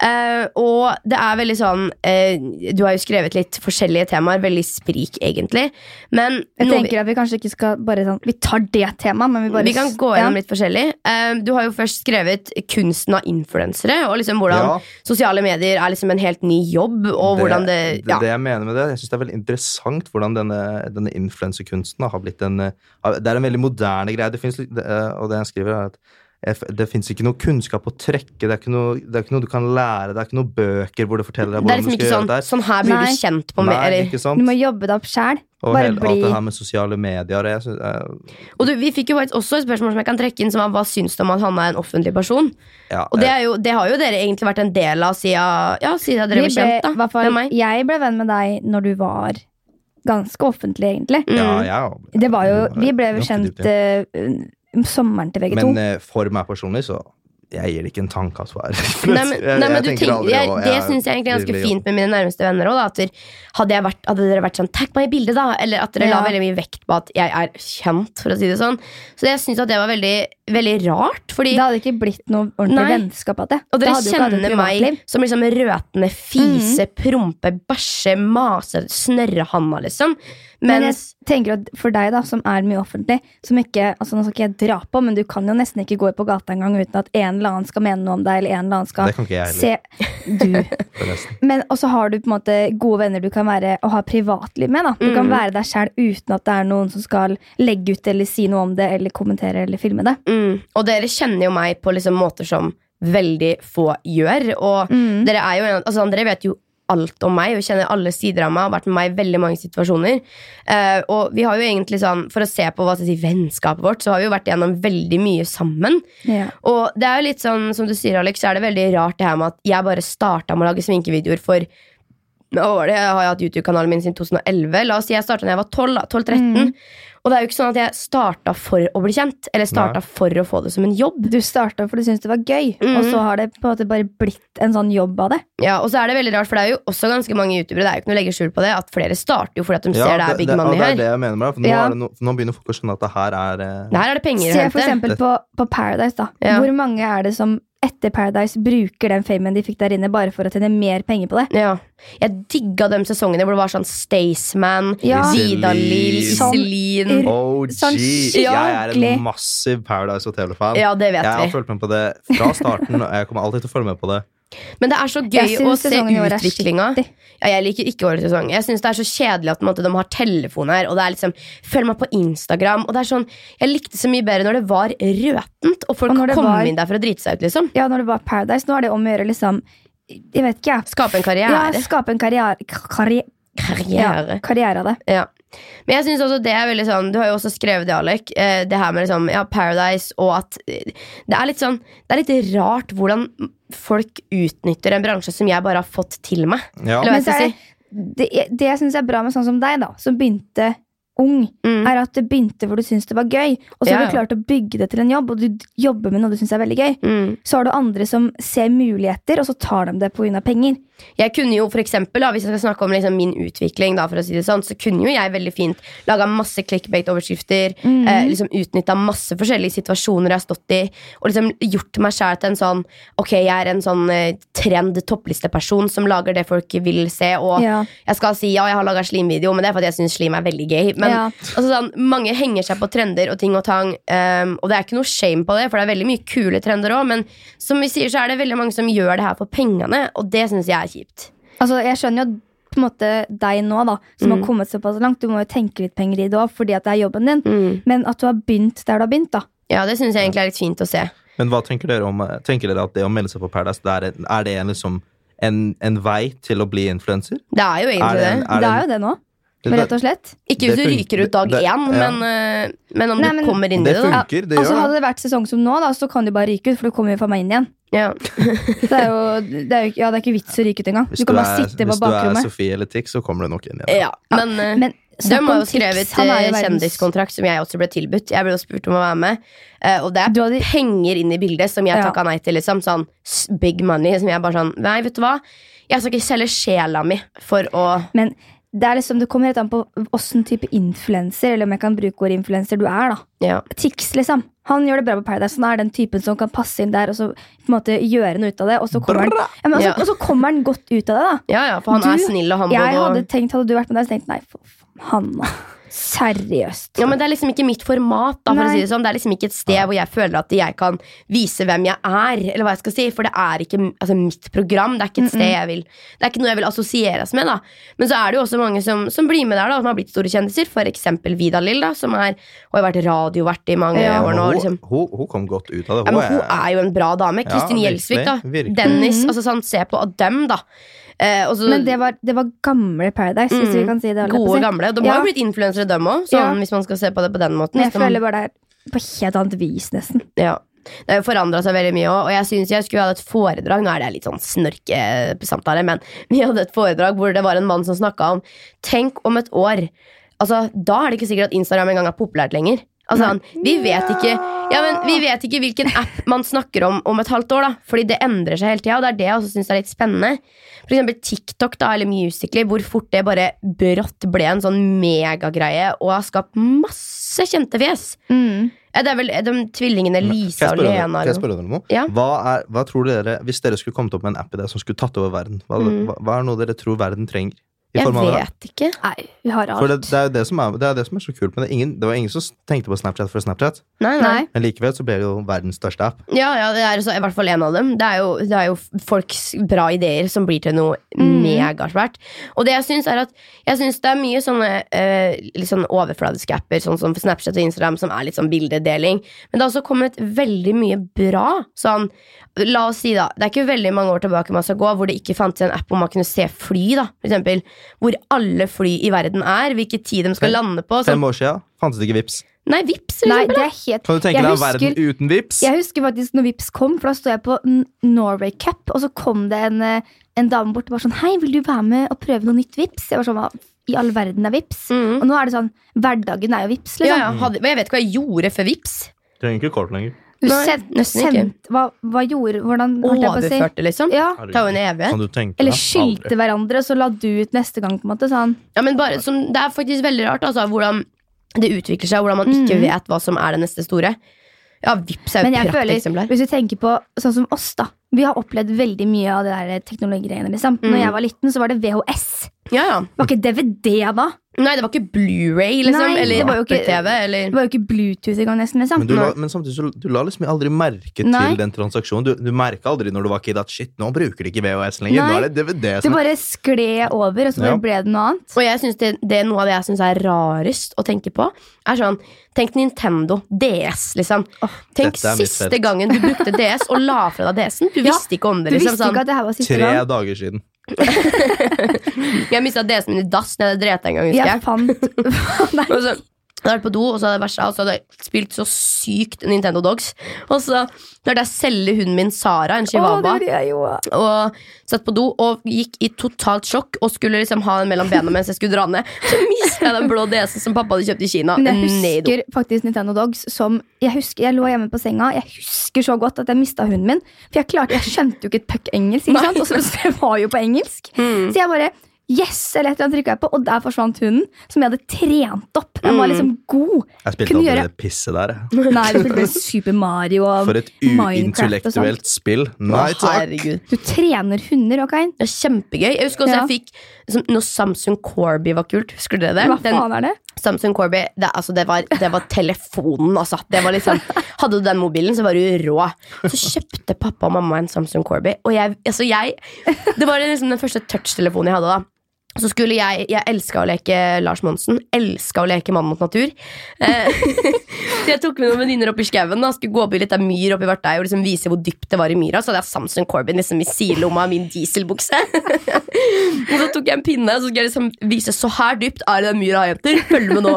A: Eh, og det er veldig sånn eh, Du har jo skrevet litt forskjellige temaer. Veldig sprik, egentlig. Men
B: Jeg
A: noe vi-
B: tenker at Vi kanskje ikke skal bare sånn Vi tar det temaet, men vi bare
A: Vi kan gå gjennom litt forskjellig. Eh, Du har jo først skrevet kunsten av influensere, og liksom hvordan
C: Ja.
A: sosiale medier er liksom en helt ny jobb, og hvordan det
C: det,
A: ja.
C: det jeg mener med det, jeg synes det er veldig interessant hvordan denne, denne influensekunsten har blitt en eh, Det er en veldig moderne greie. Det finnes, litt- det, eh, og det jeg skriver, er at jeg f- det fins ikke noe kunnskap å trekke. Det er, ikke noe, det er ikke noe du kan lære. Det er ikke noe bøker hvor det forteller
A: Det
C: deg
A: er
C: hvordan du
A: liksom
C: skal
A: ikke
C: gjøre
A: sånn
C: det
A: Sånn her blir
B: Nei.
A: du kjent på meg.
C: Nei,
A: Eller.
C: ikke
B: Ja. Du
C: sant?
B: må jobbe deg opp sjæl.
C: Og
B: bare
C: hele, alt
B: bli-
C: det her med sosiale medier. Jeg synes, eh,
A: Og du, vi fikk jo faktisk også et spørsmål som jeg kan trekke inn, som var hva syns du om at han er en offentlig person?
C: ja,
A: Og det,
C: eh,
A: er jo, det har jo dere egentlig vært en del av siden, ja, siden dere
B: Vi
A: ble
B: ble,
A: kjent, da.
B: i hvert fall,
A: Med meg.
B: jeg ble venn med deg når du var ganske offentlig, egentlig.
A: Mm.
C: ja, ja,
B: Det var jo, vi ble
C: Mm. ganske
B: jo kjent
C: dypt, ja.
B: eh, om sommeren til begge
C: Men
B: to.
C: eh, for meg personlig, så jeg gir det ikke en tanke altså. at hva er
A: Nei, men, nei, men du tenker, jeg, Det syns jeg egentlig er ganske fint med mine nærmeste venner òg. Hadde, jeg vært- hadde dere vært sånn 'tagg meg i bildet', da, eller at dere la
B: Ja.
A: veldig mye vekt på at jeg er kjent, for å si det sånn. Så jeg syns at det var veldig, veldig rart, fordi
B: Det hadde ikke blitt noe ordentlig
A: Nei.
B: vennskap av det.
A: og
B: Da
A: dere
B: hadde jo ikke hatt et
A: kjenner meg
B: privatliv. Mhm.
A: som liksom røtende fise, prompe, bæsje, mase, snørrehanna, liksom.
B: Men jeg
A: Mens
B: tenker at for deg, da, som er mye offentlig som ikke, altså Nå skal ikke jeg dra på, men du kan jo nesten ikke gå på gata engang uten at en eller annen skal mene noe om deg, eller en eller annen skal
C: Det kan ikke jeg heller,
B: se Du.
C: forresten.
B: Men også har du på en måte gode venner du kan være og ha privatliv med. da. Du kan
A: Mm.
B: være deg sjæl uten at det er noen som skal legge ut eller si noe om det eller kommentere eller filme det.
A: mm, Og dere kjenner jo meg på liksom måter som veldig få gjør, og
B: Mm.
A: Dere, er jo, en- altså, dere vet jo alt om meg og kjenner alle sider av meg. Har vært med meg i veldig mange situasjoner. Eh, og vi har jo egentlig sånn, For å se på hva skal jeg si, vennskapet vårt, så har vi jo vært gjennom veldig mye sammen.
B: Ja.
A: Og det er jo litt sånn, som du sier, Alex, så er det veldig rart det her med at jeg bare starta med å lage sminkevideoer for hva var det? Jeg har jo hatt YouTube-kanalen min siden 2011. La oss si jeg starta da jeg var 12, da, 12-13.
B: Mm.
A: Og det er jo ikke sånn at jeg starta for å bli kjent, eller starta
C: Nei.
A: for å få det som en jobb.
B: Du starta for du syntes det var gøy,
A: Mm.
B: og så har det på en måte bare blitt en sånn jobb av det.
A: Ja, og så er det veldig rart, for det er jo også ganske mange youtubere, det er jo ikke noe å legge skjul på det, at flere starter jo fordi at de ser det, er big
C: og
A: money
C: det er
A: her.
C: det
A: Det.
C: jeg mener med det. For nå,
B: Ja.
C: er det no, nå begynner folk å skjønne at det her er eh,
A: Her er det penger å
B: Se for
A: hente.
B: eksempel på, på Paradise. da.
A: Ja.
B: Hvor mange er det som etter Paradise bruker den famen de fikk der inne, bare for å tjene mer penger på det?
A: Ja. Jeg digga de sesongene hvor det var sånn Staysman,
B: Ja.
A: Vidalil,
C: Iselin.
A: Iselin
C: Oh,
B: Sånn
C: gee.
B: skikkelig.
C: Jeg er en massiv Paradise Hotel-fan.
A: Ja, det vet
C: jeg har
A: vi.
C: fulgt med på det fra starten, og jeg kommer alltid til å følge med på det.
A: Men det er så
B: Jeg
A: gøy
B: synes
A: å se
B: sesongen i år er
A: utviklinga.
B: skittig.
A: Ja, jeg liker ikke årets sesong. Jeg syns det er så kjedelig at på en måte, de har telefon her. Og det er liksom, Følg meg på Instagram. Og det er sånn, Jeg likte så mye bedre når det var røtent, og folk
B: Og når det
A: kom
B: var-
A: inn der for å drite seg ut. liksom
B: Ja, når det var Paradise, nå er det om å gjøre liksom Jeg vet ikke, jeg.
A: Skape en
B: Ja,
A: karriere.
B: skape en karriere, karri
A: Karriere.
B: Ja, karriere av det.
A: Ja. Men jeg synes også det er veldig sånn Du har jo også skrevet det, Alek. eh, Det her med liksom, ja, Paradise og at eh, Det er litt sånn Det er litt rart hvordan folk utnytter en bransje som jeg bare har fått til meg.
C: Ja.
A: Eller hva jeg
B: Men
A: skal
B: så er det, det, det jeg syns er bra med sånn som deg, da, som begynte ung,
A: Mm.
B: er at det begynte hvor du syns det var gøy, og så
A: Ja,
B: har
A: ja.
B: du klart å bygge det til en jobb, og du d- jobber med noe du syns er veldig gøy.
A: Mm.
B: Så har du andre som ser muligheter, og så tar de det pga. penger.
A: Jeg kunne jo for eksempel, da, Hvis jeg skal snakke om liksom min utvikling, da, for å si det sånn, så kunne jo jeg veldig fint laga masse clickbait-overskrifter. Eh, liksom Utnytta masse forskjellige situasjoner jeg har stått i. Og liksom gjort meg sjæl til en sånn Ok, jeg er en sånn eh, trend-topplisteperson som lager det folk vil se. Og
B: Ja.
A: jeg skal si ja, jeg har laga slimvideo, men det er fordi jeg syns slim er veldig gøy. Men
B: Ja.
A: altså, sånn, mange henger seg på trender og ting og tang, ehm, og det er ikke noe shame på det, for det er veldig mye kule trender òg, men som vi sier, så er det veldig mange som gjør det her for pengene, og det syns jeg er kjipt.
B: Altså, jeg skjønner jo på en måte deg nå, da, som
A: Mm.
B: har kommet såpass langt. Du må jo tenke litt penger i det òg, fordi at det er jobben
A: Mm.
B: din. Men at du har begynt der du har begynt, da.
A: Ja, det syns jeg egentlig er litt fint å se.
C: Men hva tenker dere om eh, Tenker dere at det å melde seg på Paradise, det er, en- er det en, liksom, en, en vei til å bli influenser?
A: Det er jo
C: Er
A: egentlig det.
C: en-
B: det, er jo det nå, rett og slett.
A: Ikke hvis
C: Det
A: du
C: fun-
A: ryker ut dag
C: det-
A: én,
C: ja.
A: men, eh, men om
B: Nei,
A: du
B: men-
A: kommer inn i
C: Det
A: det, da.
C: funker, det
B: altså,
C: gjør
B: hadde det vært sesong som nå, da, så kan du bare ryke ut, for du kommer jo faen meg inn igjen.
A: Ja.
B: Det er jo, det er jo ikke- ja, det er ikke vits å ryke ut engang.
C: Hvis
B: Du kan
C: du
B: bare
C: er,
B: sitte på
C: hvis du er
B: bakrommet.
C: Sofie eller Tix, så kommer du nok inn igjen.
A: ja. Men, eh,
B: Men
A: de
B: snakk
A: har
B: om
A: jo
B: tips,
A: skrevet
B: han er
A: eh,
B: jo verdens-
A: kjendiskontrakt, som jeg også ble tilbudt. Jeg ble jo spurt om å være med. eh, Og det er
B: Du hadde-
A: penger inn i bildet som jeg
B: Ja.
A: takka nei til. Liksom, sånn s- big money. Som jeg bare sånn Nei, vet du hva? Jeg skal ikke selge sjela mi for å
B: Men det, er liksom, det kommer helt an på åssen type influenser, eller om jeg kan bruke ordet influenser, du er, da.
A: Ja.
B: Tix, liksom. Han gjør det bra på Paradise. Han er den typen som kan passe inn der og så på en måte gjøre noe ut av det. Og så kommer, han, ja, men altså,
A: Ja.
B: og så kommer han godt ut av det, da.
A: Ja, ja, for han er
B: Du-
A: snill og humble.
B: Jeg hadde
A: Og,
B: tenkt, hadde du vært med der, så tenkte jeg, nei, for faen, Hanna. Seriøst.
A: ja, men det er liksom ikke mitt format. Da, for å
B: Nei.
A: si det, sånn. det er liksom ikke et sted hvor jeg føler at jeg kan vise hvem jeg er. Eller hva jeg skal si For det er ikke altså, mitt program. Det er ikke et sted jeg vil Det er ikke noe jeg vil assosieres med. Da. Men så er det jo også mange som, som blir med der, da, som har blitt store kjendiser. For eksempel Vida Lill, da, som er, og har vært radiovert i mange
B: Ja.
C: Men
A: år nå. Liksom.
C: hun, hun, hun kom godt ut av det.
A: Ja, men hun er jo en bra dame.
C: Ja,
A: Kristin Gjelsvik, da.
C: virkelig, virkelig.
A: Dennis. altså sånn, Se på dem, da. Eh, og så
B: Mhm. Men det var, det var gamle Paradise, hvis vi
A: Mm.
B: kan si det. holdt jeg på å
A: gode,
B: si.
A: gamle. Og de
B: Ja.
A: har jo blitt influensere, dem òg, sånn,
B: Ja.
A: hvis man skal se på det på den måten.
B: Men jeg
A: Skal man-
B: føler bare det er på helt annet vis, nesten.
A: ja. Det har forandra seg veldig mye òg, og jeg syns jeg skulle hatt et foredrag. Nå er det litt sånn snorkesamtale, men vi hadde et foredrag hvor det var en mann som snakka om Tenk om et år Altså, Da er det ikke sikkert at Instagram engang er populært lenger. Altså, han, vi vet ikke ja, men Vi vet ikke hvilken app man snakker om om et halvt år, da fordi det endrer seg hele tida. Og det er det jeg også syns er litt spennende. For eksempel TikTok da, eller Musically, hvor fort det bare brått ble en sånn megagreie og har skapt masse kjente fjes. Ja, det er vel de tvillingene Lisa og
C: Kan jeg spørre dere-
A: Lena.
C: kan
A: eller
C: jeg
A: noe.
C: spørre dere om noe?
A: Ja.
C: Hva, er, hva tror dere, Hvis dere skulle kommet opp med en app i det som skulle tatt over verden, hva,
A: Mm.
C: hva, hva er noe dere tror verden trenger? i
A: Jeg
C: form av det?
A: vet ikke.
B: Nei, vi har alt.
C: For det, det er jo det som er, det er, det som er så kult med det. Ingen, det var ingen som tenkte på Snapchat før Snapchat,
A: Nei, nei.
B: Nei.
C: men likevel så ble det jo verdens største app.
A: Ja, ja, det er så, i hvert fall en av dem. Det er jo, det er jo folks bra ideer som blir til noe
B: Mm.
A: megasvært. Og det jeg syns, er at jeg synes det er mye sånne eh, litt sånn overfladiske apper, sånn som Snapchat og Instagram, som er litt sånn bildedeling. Men det har også kommet veldig mye bra. Sånn, la oss si, da, det er ikke veldig mange år tilbake man skal gå, hvor det ikke fantes en app hvor man kunne se fly, da, for eksempel. Hvor alle fly i verden er, hvilken tid de skal lande på. Sånn.
C: Fem år siden fantes det ikke Vips
A: Nei, vips, for
B: Nei,
A: eksempel.
B: det er helt
C: Kan du tenke
B: Jeg
C: deg
B: husker-
C: verden uten Vips
B: Jeg husker faktisk når Vips kom, for da sto jeg på N- Norway Cup, og så kom det en, eh, en dame bort og var sånn Hei, vil du være med og prøve noe nytt Vips? Jeg var sånn, Hva i all verden er Vips?
A: Mhm.
B: Og nå er det sånn, hverdagen er jo
A: Ja,
B: Vips, liksom.
C: Mm.
A: ja, hadde, jeg vet ikke hva jeg gjorde før vips.
C: Trenger ikke kort lenger.
B: Du
A: Nei,
B: send-
A: nesten ikke.
B: sendt- hva, hva gjorde Hvordan holdt jeg på å si?
A: Overførte, liksom.
B: Ja,
A: Det tar jo en evighet.
C: Kan du tenke
B: eller
C: deg?
B: skyldte
C: Aldri.
B: hverandre, og så la du ut neste gang, på en måte. Sånn.
A: Ja, men bare, som, det er faktisk veldig rart altså, hvordan det utvikler seg, og hvordan man ikke
B: Mm.
A: vet hva som er det neste store. Ja, Vipps er
B: Men
A: jo
B: jeg
A: et
B: føler,
A: prakteksemplar.
B: hvis vi tenker på sånn som oss, da. Vi har opplevd veldig mye av det der eh, teknologigreiene. Liksom.
A: Mm.
B: Når jeg var liten, så var det VHS.
A: Ja, ja.
B: Var ikke DVD da?
A: Nei, det var ikke Blu-ray, liksom.
B: Nei, det
A: eller
B: var jo ikke-
A: Apple-TV. Eller...
B: Det var jo ikke Bluetooth engang, nesten. Liksom.
C: Men, du la, men samtidig så du la liksom aldri merke til
B: Nei.
C: den transaksjonen. Du, du merka aldri når du var kid at shit, nå bruker de ikke VHS lenger.
B: Nei.
C: Nå er det DVD.
B: Det
C: Som er.
B: bare skled over, og så bare
C: Ja.
B: ble det noe annet.
A: Og jeg synes det, det er noe av det jeg syns er rarest å tenke på, er sånn Tenk Nintendo. DS, liksom. Tenk
C: dette er mitt
A: siste
C: felt.
A: gangen du brukte DS og la fra deg DS-en. Du
B: Ja,
A: visste ikke om
B: Du
A: det. liksom
B: visste ikke at det her var siste
C: Tre
B: gang.
C: dager siden.
A: sånn. Jeg mista DS-en min i dass når jeg hadde drept en gang, husker
B: Jeg fant Nei.
A: Og så Jeg hadde vært på do, og så hadde jeg versa, og så hadde jeg spilt så sykt Nintendo Dogs. Og så klarte jeg å selge hunden min Sara, en
B: Å, det
A: chihuahua,
B: gjorde jeg jo.
A: og satt på do og gikk i totalt sjokk og skulle liksom ha den mellom bena mens jeg skulle dra ned. Så mista jeg den blå DS-en som pappa hadde kjøpt i Kina.
B: Men jeg
A: ned i do.
B: husker faktisk Nintendo Dogs som Jeg husker, jeg lå hjemme på senga, jeg husker så godt at jeg mista hunden min. For jeg klarte, jeg skjønte jo ikke et puck engelsk, ikke
A: Nei,
B: sant? Og så det var jo på engelsk.
A: Mm.
B: Så jeg bare Yes! Eller et eller annet trykket jeg på, og der forsvant hunden. Som jeg hadde trent opp. Den
A: Hmm.
B: var liksom god.
C: Jeg spilte
B: Kunne
C: aldri
B: gjøre-
C: det pisset der. jeg.
B: Nei, du spilte bare Super Mario og
C: For et
B: Minecraft og sånt.
C: uintellektuelt spill. Nei
A: Å,
C: takk!
A: herregud.
B: Du trener hunder, ok?
A: Det er kjempegøy. Jeg husker også
B: Ja.
A: jeg fikk liksom, Når Samsung Corby var kult, husker dere det?
B: Hva
A: Den-
B: faen er det?
A: Samsung Corby, det, altså, det, var, det var telefonen, altså. Det var liksom, hadde du den mobilen, så var du rå. Så kjøpte pappa og mamma en Samsung Corby, og jeg, altså, jeg Det var liksom den første touchtelefonen jeg hadde da. Så skulle jeg Jeg elska å leke Lars Monsen. Elska å leke Mann mot natur. Eh, så jeg tok med noen venninner opp i skauen da, skulle gå opp i litt av myr opp i Vartei og liksom vise hvor dypt det var i myra. Så hadde jeg Samsung Corby liksom i sidelomma av min dieselbukse. Og så tok jeg en pinne og så skulle jeg liksom vise så her dypt er det den myra, jenter. Følg med nå.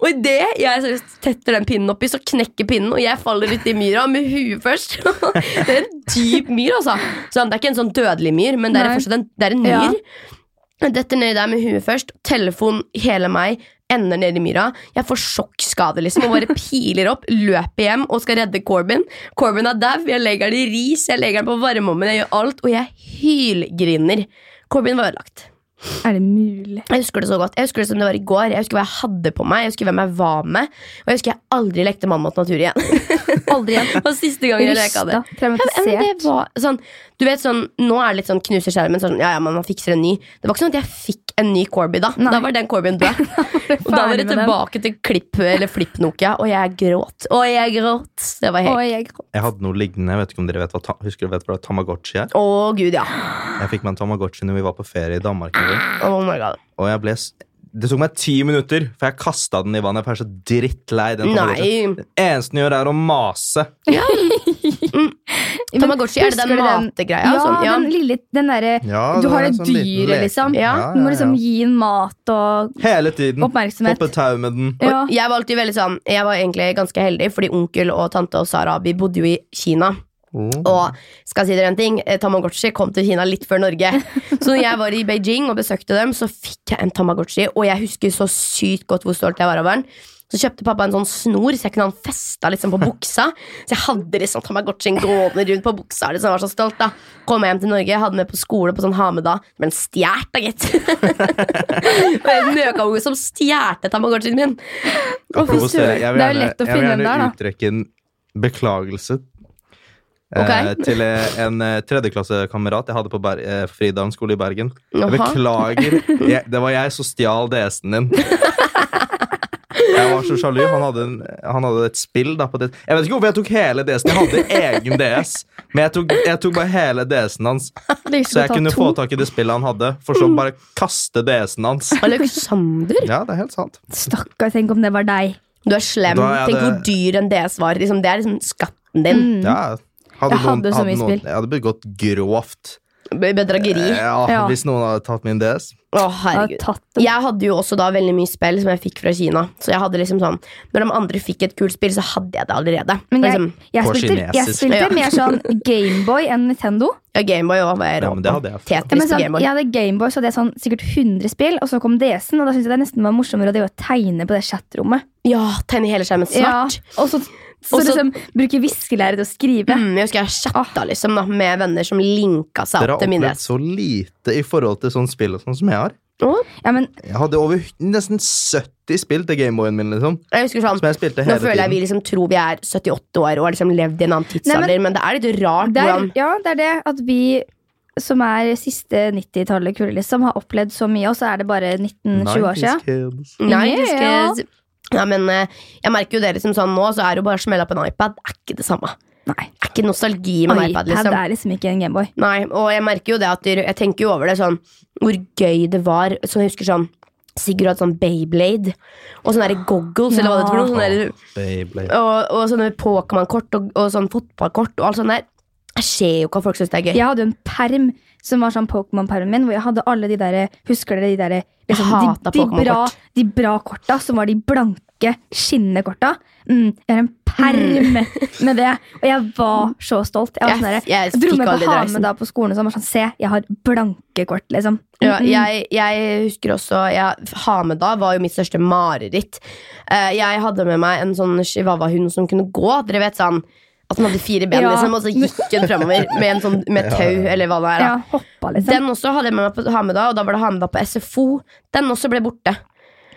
A: Og idet jeg seriøst tetter den pinnen oppi, så knekker pinnen, og jeg faller uti myra med huet først. det er en dyp myr, altså. Så det er ikke en sånn dødelig myr, men det er
B: Nei.
A: fortsatt en, det er en myr.
B: Ja.
A: Jeg detter nedi der med huet først. Telefon, hele meg, ender nedi myra. Jeg får sjokkskade, liksom, og bare piler opp. Løper hjem og skal redde Corbin. Corbin er dau. Jeg legger den i ris, jeg legger den på varmeovnen, jeg gjør alt, og jeg hylgriner. Corbin var ødelagt.
B: Er det mulig?
A: Jeg husker det så godt. Jeg husker det som det var i går. Jeg husker hva jeg hadde på meg, jeg husker hvem jeg var med, og jeg husker jeg aldri lekte mann mot natur igjen.
B: Aldri igjen.
A: Det var siste gangen jeg leka det.
B: Rusta,
A: Ja, men det
B: traumatisert.
A: var sånn, du vet sånn, Nå er det litt sånn knuser skjermen, sånn, ja, ja, men man fikser en ny. Det var ikke sånn at jeg fikk en ny Corby da.
B: Nei.
A: Da var den Corbyen død. og da var
B: ferdig
A: det
B: med den.
A: tilbake til klipp eller flipp Nokia, og jeg gråt. Og jeg gråt. Det var helt
B: Og jeg
C: Jeg hadde noe lignende. Jeg vet ikke om dere vet hva, ta- husker dere vet hva Tamagotchi er?
A: Å, gud, ja.
C: Jeg fikk meg en Tamagotchi når vi var på ferie i Danmark. en gang.
A: Oh my god.
C: Og jeg ble s- Det tok meg ti minutter, for jeg kasta den i vannet. For jeg er så drittlei den. Tamagotchien.
A: Nei.
C: Det eneste den gjør, er å mase.
A: Tamagotchi, er det den
B: Husker du
A: mategreia?
B: Ja,
A: Sånn, ja.
B: den lille den derre
C: Ja,
B: Du
C: det
B: har
C: er
B: det
C: sånn liten
B: dyret,
C: leke.
B: liksom.
A: Ja,
B: Du må
C: ja,
B: liksom
C: ja.
B: gi den mat og
C: Hele tiden.
B: oppmerksomhet.
C: Hoppe tau med den.
A: Og
B: Ja.
A: Jeg var alltid veldig sånn Jeg var egentlig ganske heldig, fordi onkel og tante og Sara Vi bodde jo i Kina. Og skal jeg si dere en ting eh, Tamagotchi kom til Kina litt før Norge. Så når jeg var i Beijing og besøkte dem, så fikk jeg en Tamagotchi. Og jeg husker så sykt godt hvor stolt jeg var over den. Så kjøpte pappa en sånn snor, så jeg kunne ha den festa liksom, på buksa. Så jeg hadde liksom Tamagotchien gående rundt på buksa. Liksom. Jeg var så stolt da Kom jeg hjem til Norge, hadde den med på skole på sånn ha med da. Men stjålet, da, gitt. Og en møkaunge som stjålet Tamagotchien min.
C: Apropos
B: søren.
C: større, jeg vil
B: Det er jo
C: gjerne-
B: lett å finne
C: Jeg vil
B: den der,
C: gjerne
B: da.
C: uttrekke en beklagelse
A: Ok.
C: eh, til eh, en eh, tredjeklassekamerat jeg hadde på Ber eh, Fridalen skole i Bergen. Jeg
A: Jaha.
C: beklager. Jeg, det var jeg som stjal DS-en din. Jeg var så sjalu. Han hadde, en, han hadde et spill da på det. Jeg vet ikke hvorfor jeg tok hele DS-en. Jeg hadde egen DS, men jeg tok, jeg tok bare hele DS-en hans. Så jeg kunne få tak i det spillet han hadde, for så bare kaste DS-en hans.
A: Alexander?
C: Ja, det er helt sant.
B: Stakkar, tenk om det var deg.
A: Du er slem.
C: Da er
A: Tenk hvor
C: det-
A: dyr en DS var. Liksom, det er liksom skatten din.
C: Ja, hadde
B: Jeg hadde så mye spill.
C: jeg hadde begått grovt
B: Mm.
A: Bedrageri.
C: Ja,
B: Ja.
C: Hvis noen hadde tatt min DS.
A: Å,
B: Jeg har
A: herregud.
B: tatt det.
A: Jeg hadde jo også da veldig mye spill som jeg fikk fra Kina. Så jeg hadde liksom sånn Når de andre fikk et kult spill, så hadde jeg det allerede. Liksom,
B: Men
A: For
B: jeg,
A: eksempel,
B: jeg
C: På
B: spilte, jeg
C: kinesisk.
B: spilte
A: Ja.
B: mer sånn Gameboy enn Nintendo.
A: ja, Gameboy også var jeg rå
C: Ja, men det
A: på.
C: hadde jeg.
B: Ja, men
A: Tetris på
B: sånn,
A: Gameboy.
B: jeg hadde Gameboy, så hadde jeg sånn, sikkert 100 spill, og så kom DS-en, og da syntes jeg det nesten var morsommere å drive og tegne på det chatrommet.
A: Ja, tegne hele skjermen svart.
B: Ja, og så, så
A: Og så-
B: liksom bruke viskelæret til å skrive.
A: Mm, jeg husker jeg
B: Ah.
A: chatta liksom, da, med venner som linka seg opp
C: Dere har
A: til min
C: opplevd
A: DS.
C: så lite i forhold til sånn spill og sånn som jeg har.
A: Å,
B: Ja, men
C: Jeg hadde over nesten 70 spill til Gameboyen min, liksom.
A: Jeg husker sånn
C: Som jeg spilte
A: Nå
C: hele
A: føler jeg vi
C: tiden.
A: liksom tror vi er 78 år og har liksom levd i en annen tidsalder,
B: Nei,
A: men, det er litt rart
B: det er,
A: hvordan
B: ja, det er det at vi som er siste 90-tallet kule, liksom, har opplevd så mye, og så er det bare 19-20 år siden.
C: 90s kids.
A: Nei, det
B: Ja.
A: skal... ja, men eh, jeg merker jo det liksom sånn nå, så er det jo bare å smelle opp en iPad. Det er ikke det samme.
B: Nei,
A: Det er ikke nostalgi med en iPad,
B: iPad
A: liksom.
B: er liksom ikke en Gameboy.
A: Nei, og jeg merker jo det at jeg tenker jo over det sånn, hvor gøy det var. Så jeg husker sånn, Sigurd hadde sånn Beyblade, og sånne der goggles, eller hva det er for noe, sånne der-
C: Beyblade.
A: og, og sånne Pokémon-kort, og, og sånn fotballkort, og alt sånt der. Jeg ser jo hva folk synes det er gøy.
B: Jeg hadde jo en perm som var sånn Pokémon-permen min, hvor jeg hadde alle de der Husker dere de der
A: Jeg
B: liksom,
A: hatet
B: de, de, bra,
A: Pokémon-kort.
B: de bra korta som var de blanke, tjukke, skinnende korta. Mm, jeg har en perm med det. Og jeg var så stolt. Jeg, var sånn der,
A: jeg
B: jeg dro
A: fikk
B: med
A: aldri
B: på
A: det,
B: å ha
A: liksom.
B: med da på skolen og sånn, bare sånn, se, jeg har blanke kort, liksom.
A: Ja,
B: Mm, mm.
A: jeg, jeg husker også jeg, Hameda var jo mitt største mareritt. Eh, jeg hadde med meg en sånn chihuahua-hund som kunne gå. Dere vet sånn At den hadde fire ben,
B: Ja.
A: liksom, og så gikk den framover med en sånn med
C: Ja,
A: tau,
C: ja.
A: eller hva det er. da.
B: Ja, hoppa, liksom.
A: Den også hadde jeg med meg på Hameda, og da var det Hameda på SFO. Den også ble borte.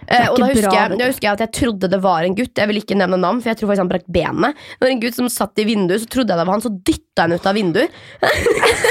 A: Eh,
B: er
A: og da
B: ikke
A: husker,
B: bra,
A: jeg,
B: vet du.
A: da husker jeg at jeg trodde det var en gutt. Jeg vil ikke nevne navn, for jeg tror faktisk han brakk benet. Det var en gutt som satt i vinduet, så trodde jeg det var han, så dytta jeg han ut av vinduet.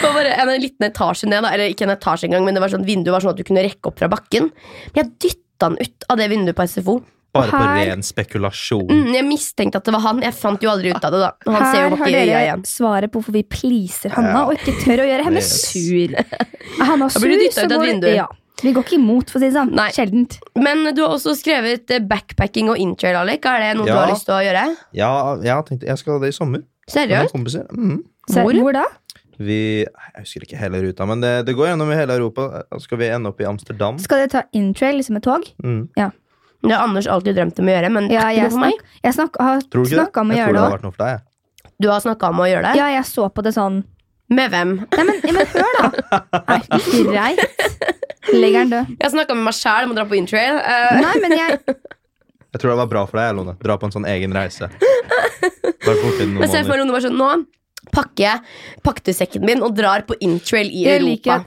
A: det var bare en, en liten etasje ned, da. eller ikke en etasje engang, men det var sånn vinduet var sånn at du kunne rekke opp fra bakken. Men jeg dytta han ut av det vinduet på SFO.
C: Bare på
B: Her-
C: ren spekulasjon.
A: Mm, jeg mistenkte at det var han. Jeg fant jo aldri ut av det, da. Og Han ser
B: Her
A: jo
B: har
A: ikke i øya
B: dere
A: igjen.
B: svaret på hvorfor vi pleaser Hanna
C: Ja.
B: og ikke tør å gjøre henne
C: Yes.
B: sur. Er Hanna sur,
A: blir du dyttet
B: så
A: ut av
B: går-
A: vinduet.
B: Ja. Vi går ikke imot, for å si det sånn.
A: Nei.
B: Sjeldent.
A: Men du har også skrevet eh, backpacking og intrail, Alec. Er det noe du
C: Ja.
A: har lyst til å gjøre?
C: Ja, jeg har tenkt jeg skal ha det i sommer. Med noen
A: Seriøst?
C: kompiser. Mhm.
B: Så,
A: Hvor?
B: hvor? da?
C: Vi Jeg husker ikke hele ruta, men det, det går gjennom hele Europa. Da Skal vi ende opp i Amsterdam?
B: Skal dere ta intrail liksom et tog?
C: Mm.
A: Det har Anders alltid drømt om å gjøre, men det
B: Ja,
A: er ikke
B: jeg,
A: noe for meg.
B: snak, jeg snak, har
C: Tror du ikke
B: snakka om å
C: det? Jeg
B: gjøre
C: tror
B: det
C: det
B: òg.
C: hadde vært noe for deg. jeg.
A: Du har snakka om å gjøre det?
B: Ja, jeg så på det sånn.
A: Med hvem?
B: Nei, men, ja, men hør, da! Nei, greit. Legger den død.
A: Jeg snakka med meg sjæl om å dra på intrail. eh,
B: Nei, men jeg
C: Jeg tror det var bra for deg, Lone. Dra på en sånn egen reise. Bare bort i noen
A: men se for
C: måneder.
A: meg om det var sånn Nå pakker jeg paktesekken min og drar på intrail i
B: Jeg
A: Europa.
B: liker-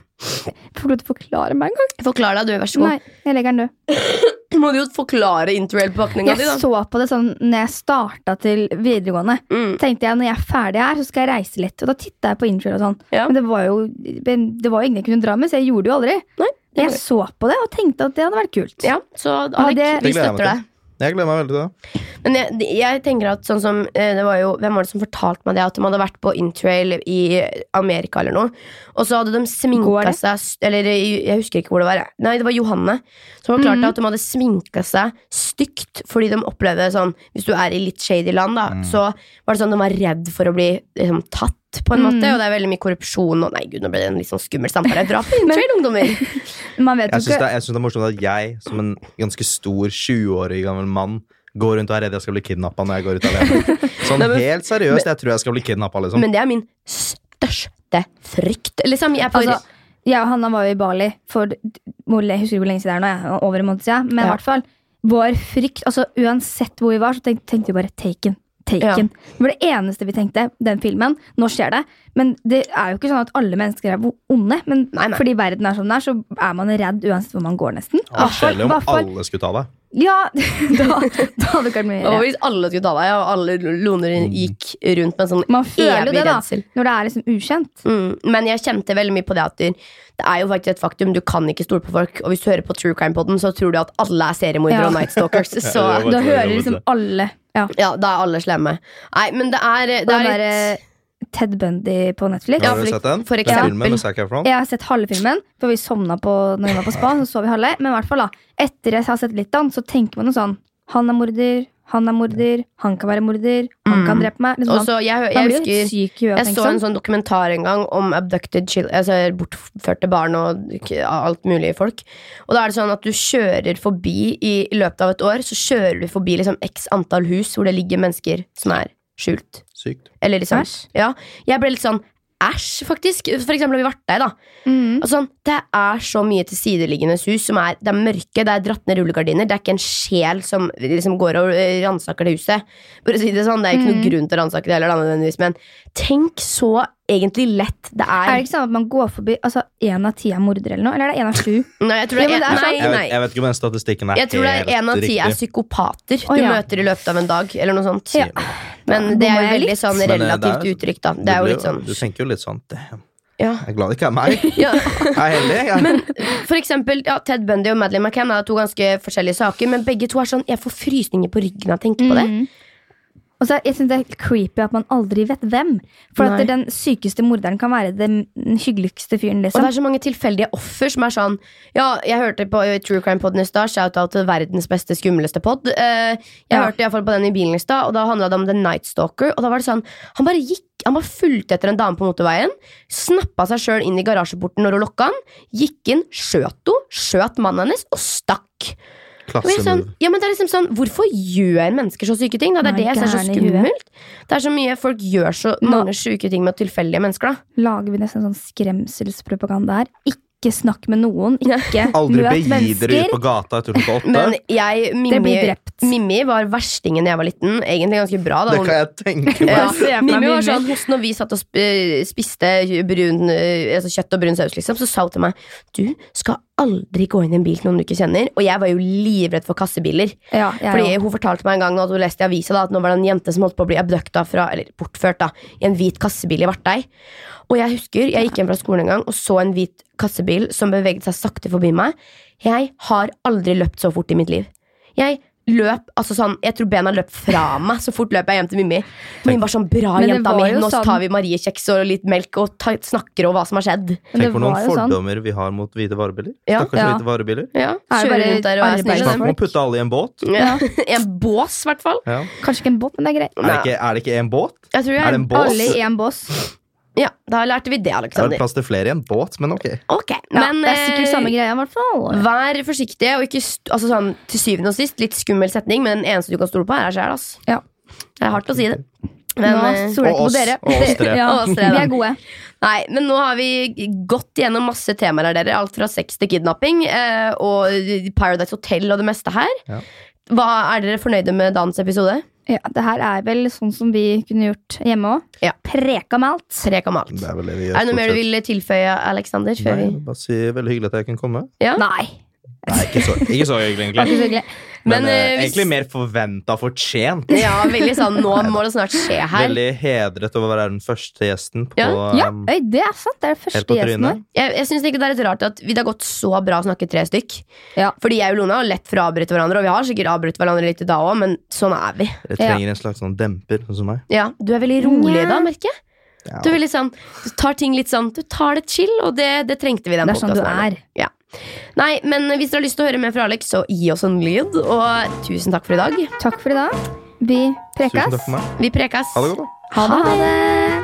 B: Får du til å forklare meg en gang?
A: Forklar deg, du. Vær så god.
B: Nei, jeg legger den død.
A: Må du jo forklare intrail-pakninga di,
B: Jeg
A: da.
B: så på det sånn når jeg starta til videregående.
A: Mm.
B: tenkte jeg når jeg er ferdig her, så skal jeg reise litt. Og da titta jeg på intrail og sånn.
A: Ja.
B: Men det var jo men det var jo ingen jeg kunne dra med, så jeg gjorde det jo aldri.
A: Nei, det
B: jeg så på det og tenkte at det hadde vært kult.
A: Ja, så
B: Ja,
A: Alek,
B: det-
A: vi
C: Det gleder jeg meg
A: støtter deg.
C: Jeg gleder meg veldig til det.
A: Men jeg, jeg tenker at sånn som eh, det var jo, Hvem var det som fortalte meg det? At de hadde vært på interrail i Amerika eller noe. Og så hadde de
B: Går
A: sminka
B: det?
A: seg s- Eller i- jeg husker ikke hvor det var. jeg. Nei, det var Johanne som forklarte
B: Mhm.
A: at de hadde sminka seg stygt fordi de opplevde sånn Hvis du er i litt shady land, da, så var det sånn de var redd for å bli liksom, tatt. På en måte,
B: Mm.
A: Og det er veldig mye korrupsjon og Nei, gud, nå ble det en litt sånn skummel samtale. Dra på interrail, ungdommer!
B: Man vet
C: Jeg
B: jo
C: syns
B: ikke
C: det, er- jeg synes det er morsomt at jeg, som en ganske stor 20-årig gammel mann, går rundt og er redd jeg skal bli kidnappa når jeg går ut alene. Sånn
A: Nei, men-
C: helt seriøst, jeg tror jeg skal bli kidnappa, liksom.
A: Men det er min største frykt. Liksom, jeg er for
B: altså, Jeg og Hanna var jo i Bali for hvor- jeg husker ikke hvor lenge siden det er nå, jeg, over en måned siden. Men i
A: Ja.
B: hvert fall, vår frykt altså Uansett hvor vi var, så tenkte, tenkte vi bare Taken.
A: Ja.
B: Taken. Det var det eneste vi tenkte. Den filmen. Nå skjer det. Men det er jo ikke sånn at alle mennesker er onde. Men
A: Nei, nei.
B: fordi verden er som den er, så er man redd uansett hvor man går, nesten.
C: Ja, Selv om
B: Hvertfall- hvertfall-
C: alle skulle ta deg.
B: Ja, da, da hadde det ikke vært mye
A: Og
B: redd.
A: hvis alle skulle ta deg, og alle loner
C: Mm.
A: gikk rundt med en sånn
B: Man føler jo
A: evig
B: det, da.
A: redsel.
B: Når det er liksom ukjent.
A: Mm, men jeg kjente veldig mye på det at det det er jo faktisk et faktum. Du kan ikke stole på folk. Og hvis du hører på True Crime Podden, så tror du at alle er seriemordere
B: Ja.
A: og night stalkers. Så
C: Ja, det
B: Da
C: var- det
B: hører
C: det,
B: liksom
C: det.
B: alle ja,
A: ja, da er alle slemme. Nei, men det er, det
B: Den
A: er litt
B: derre Ted Bundy på Netflix.
A: Ja,
C: Har
A: for
C: du
A: ek-
C: sett den?
A: for
C: Den
A: eksempel.
C: filmen med Zac Efron?
B: Jeg har sett halve filmen, for vi sovna på, når vi var på spa. Så så vi halve, Men i hvert fall da etter jeg har sett litt av den, så tenker man jo sånn Han er morder, han er morder, han kan være morder, han
C: Mm.
B: kan drepe meg. Liksom,
A: Og
B: sånn.
A: så jeg, jeg
B: man blir jo helt
A: husker
B: syk i huet. av å
A: jeg
B: tenke
A: så en
B: sånn.
A: sånn dokumentar en gang om abducted chil- altså bortførte barn og k- alt mulig folk. Og da er det sånn at du kjører forbi i, i løpet av et år, så kjører du forbi liksom x antall hus hvor det ligger mennesker som er skjult.
C: Sykt.
A: Eller liksom,
B: Æsj.
A: ja. Jeg ble litt sånn æsj, faktisk. For eksempel i Vartei, da.
B: Mm.
A: Altså, sånn, det er så mye tilsideliggende hus som er, det er mørke, det er dratt ned rullegardiner. Det er ikke en sjel som liksom går og eh, ransaker det huset. For å si Det sånn, det er ikke
B: Mm.
A: noen grunn til å ransake det heller, da, nødvendigvis, men tenk så egentlig lett det
B: Er
A: er.
B: det ikke sånn at man går forbi Altså, én av ti er mordere eller noe? Eller er det én av sju?
A: Nei, jeg tror det
B: Jo, men
A: er,
B: det er sånn-
A: nei,
B: sant.
C: Jeg vet,
A: nei.
C: jeg vet ikke om den statistikken er
A: Jeg tror det er én av ti er psykopater du
B: Å, ja.
A: møter i løpet av en dag, eller noe sånt.
B: Ja.
A: Men det er jo
B: Bommer jeg
A: veldig
B: litt?
A: sånn
C: Men, eh, det er
A: relativt
C: jo-
A: uttrykk, da.
C: Du
A: Det er jo
C: blir
A: litt sånn
C: Du tenker jo litt sånn Damn,
A: ja.
C: jeg er glad det ikke er meg.
A: ja.
C: Jeg er heldig. Jeg.
A: For eksempel, ja, Ted Bundy og Madeleine McCann er to ganske forskjellige saker, men begge to er sånn Jeg får frysninger på ryggen av å tenke på det.
B: Mm. Og så jeg synes det er creepy at man aldri vet hvem. For at
A: Nei.
B: den sykeste morderen kan være den hyggeligste
A: Og
B: fyren.
A: det
B: liksom
A: er så mange tilfeldige offer som er sånn Ja, jeg hørte på eh, True Crime Podden i stad. Shout-out til verdens beste, skumleste pod. Eh, Jeg
B: Ja.
A: hørte i hvert fall på den i bilen i stad, og da handla det om The Night Stalker. Og da var det sånn Han bare gikk han bare fulgte etter en dame på motorveien, snappa seg sjøl inn i garasjeporten når hun lokka han, gikk inn, skjøt henne, skjøt mannen hennes og stakk. Og jeg er sånn,
C: Klassemove.
A: ja, men det er liksom sånn, Hvorfor gjør mennesker så syke ting? Da? Det er
B: Nei,
A: det jeg ser så
B: gærne i huet.
A: skummelt. Det er så mye Folk gjør så mange syke ting med tilfeldige mennesker. da
B: Lager vi nesten sånn skremselspropaganda her? Ikke snakk med noen. Ikke
C: Aldri
B: møt
C: begi dere ut
B: mennesker.
C: på gata etter klokka åtte.
A: Men jeg,
B: Dere
A: Mimmi,
B: blir drept.
A: Mimmi var verstingen da jeg var liten. Egentlig ganske bra. da
C: Det
A: Hun-
C: kan jeg tenke meg.
A: Ja.
B: Jeg ser for meg
A: Mimmi var
B: Mimmi.
A: sånn, hos når vi satt og sp- eh, spiste brun, eh, altså kjøtt og brun saus, liksom, så sa hun til meg Du skal aldri gå inn i en bil til noen du ikke kjenner. Og jeg var jo livredd for kassebiler.
B: Ja, jeg
A: Fordi
B: òg.
A: Hun fortalte meg en gang nå at hun leste i avisa da, at nå var det en jente som holdt på å bli abducta fra, eller bortført da, i en hvit kassebil i Vartei. Og jeg husker, jeg gikk hjem fra skolen en gang og så en hvit kassebil som beveget seg sakte forbi meg. Jeg har aldri løpt så fort i mitt liv. Jeg løp, altså sånn, jeg tror bena løp fra meg så fort løp jeg hjem til Mimmi. Mimmi var sånn, bra
B: Men det
A: jenta mi,
B: var jo
A: nå
B: sånn-
A: tar vi mariekjeks og litt melk og ta, snakker om hva som har skjedd.
B: Men det
C: Tenk på noen
B: var jo sånn.
C: fordommer vi har mot hvite varebiler.
A: Ja.
C: Stakkars
B: Ja.
C: hvite varebiler.
A: Ja,
B: Er det
A: kjører
B: bare liksom?
A: rundt der og er snille.
C: Snakk
A: dem.
C: om å putte alle i en båt.
A: Ja. En bås, i hvert fall.
C: Ja.
B: Kanskje ikke en båt, men det er greit.
C: Er, det ikke, er det ikke en båt?
A: Jeg tror jeg,
C: Er det en bås?
B: Alle i en bås.
A: Ja, da lærte vi det,
C: Det er vel
A: Alexander.
C: plass til flere i en båt, men ok.
A: Ok,
B: Ja,
A: men
B: det er sikkert
A: eh,
B: samme greia, i hvert fall.
A: Vær forsiktige, og ikke st altså sånn, til syvende og sist litt skummel setning, men den eneste du kan stole på, er deg sjæl. ass.
B: Ja.
A: Det er hardt å si det. Men,
B: Nå
A: eh,
B: stoler jeg ikke
C: Og
B: på
C: oss,
B: dere.
C: og oss tre.
B: Ja,
A: Og oss tre, da.
B: vi er gode.
A: nei, men nå har vi gått gjennom masse temaer her, dere. Alt fra sex til kidnapping eh, og Paradise Hotel og det meste her.
C: Ja.
A: Hva Er dere fornøyde med dagens episode?
B: Ja, det her er vel sånn som vi kunne gjort hjemme òg.
A: Ja.
B: Preka med alt.
A: Tre om alt.
C: Det
A: Er
C: er vel det vi
A: det
C: gjør.
A: noe
C: stort
A: mer du
C: sett.
A: vil tilføye, Alexander? Før
C: Nei,
A: vi...
C: bare si veldig hyggelig at jeg kunne komme.
A: Ja.
B: Nei.
C: Nei, ikke så, ikke så hyggelig,
B: Det var
C: egentlig.
B: ikke så hyggelig.
A: Men,
C: Men eh,
A: eh, hvis-
C: egentlig mer forventa fortjent.
A: ja, veldig sånn Nå må det snart skje her.
C: Veldig hedret over å være den første gjesten på
A: Ja,
B: Ja,
C: um,
B: øy, det er sant. Det er det
C: Helt
B: første
C: på
B: gjesten vår.
C: trynet.
A: Jeg, jeg synes ikke det er litt rart at vi- Det har gått så bra å snakke tre stykk.
B: Ja.
A: Fordi jeg og Lone har lett for å avbryte hverandre, og vi har sikkert avbrutt hverandre litt i dag òg, men sånn er vi.
C: Jeg trenger en slags sånn demper, sånn som meg.
A: Ja, Du er veldig rolig i dag, merker jeg.
C: Ja.
A: Du, er veldig sånn, du tar ting litt sånn Du tar det chill, og det, det trengte vi i den
B: Det er sånn du
A: podcasten her nå.
B: er.
A: Ja. Nei, men hvis dere har lyst til å høre mer fra Alex, så gi oss en lyd. Og tusen takk for i dag.
B: Takk for i dag. Vi
C: Tusen
B: prekas.
C: takk for meg.
A: Vi prekes.
C: Ha det godt, da.
B: Ha det.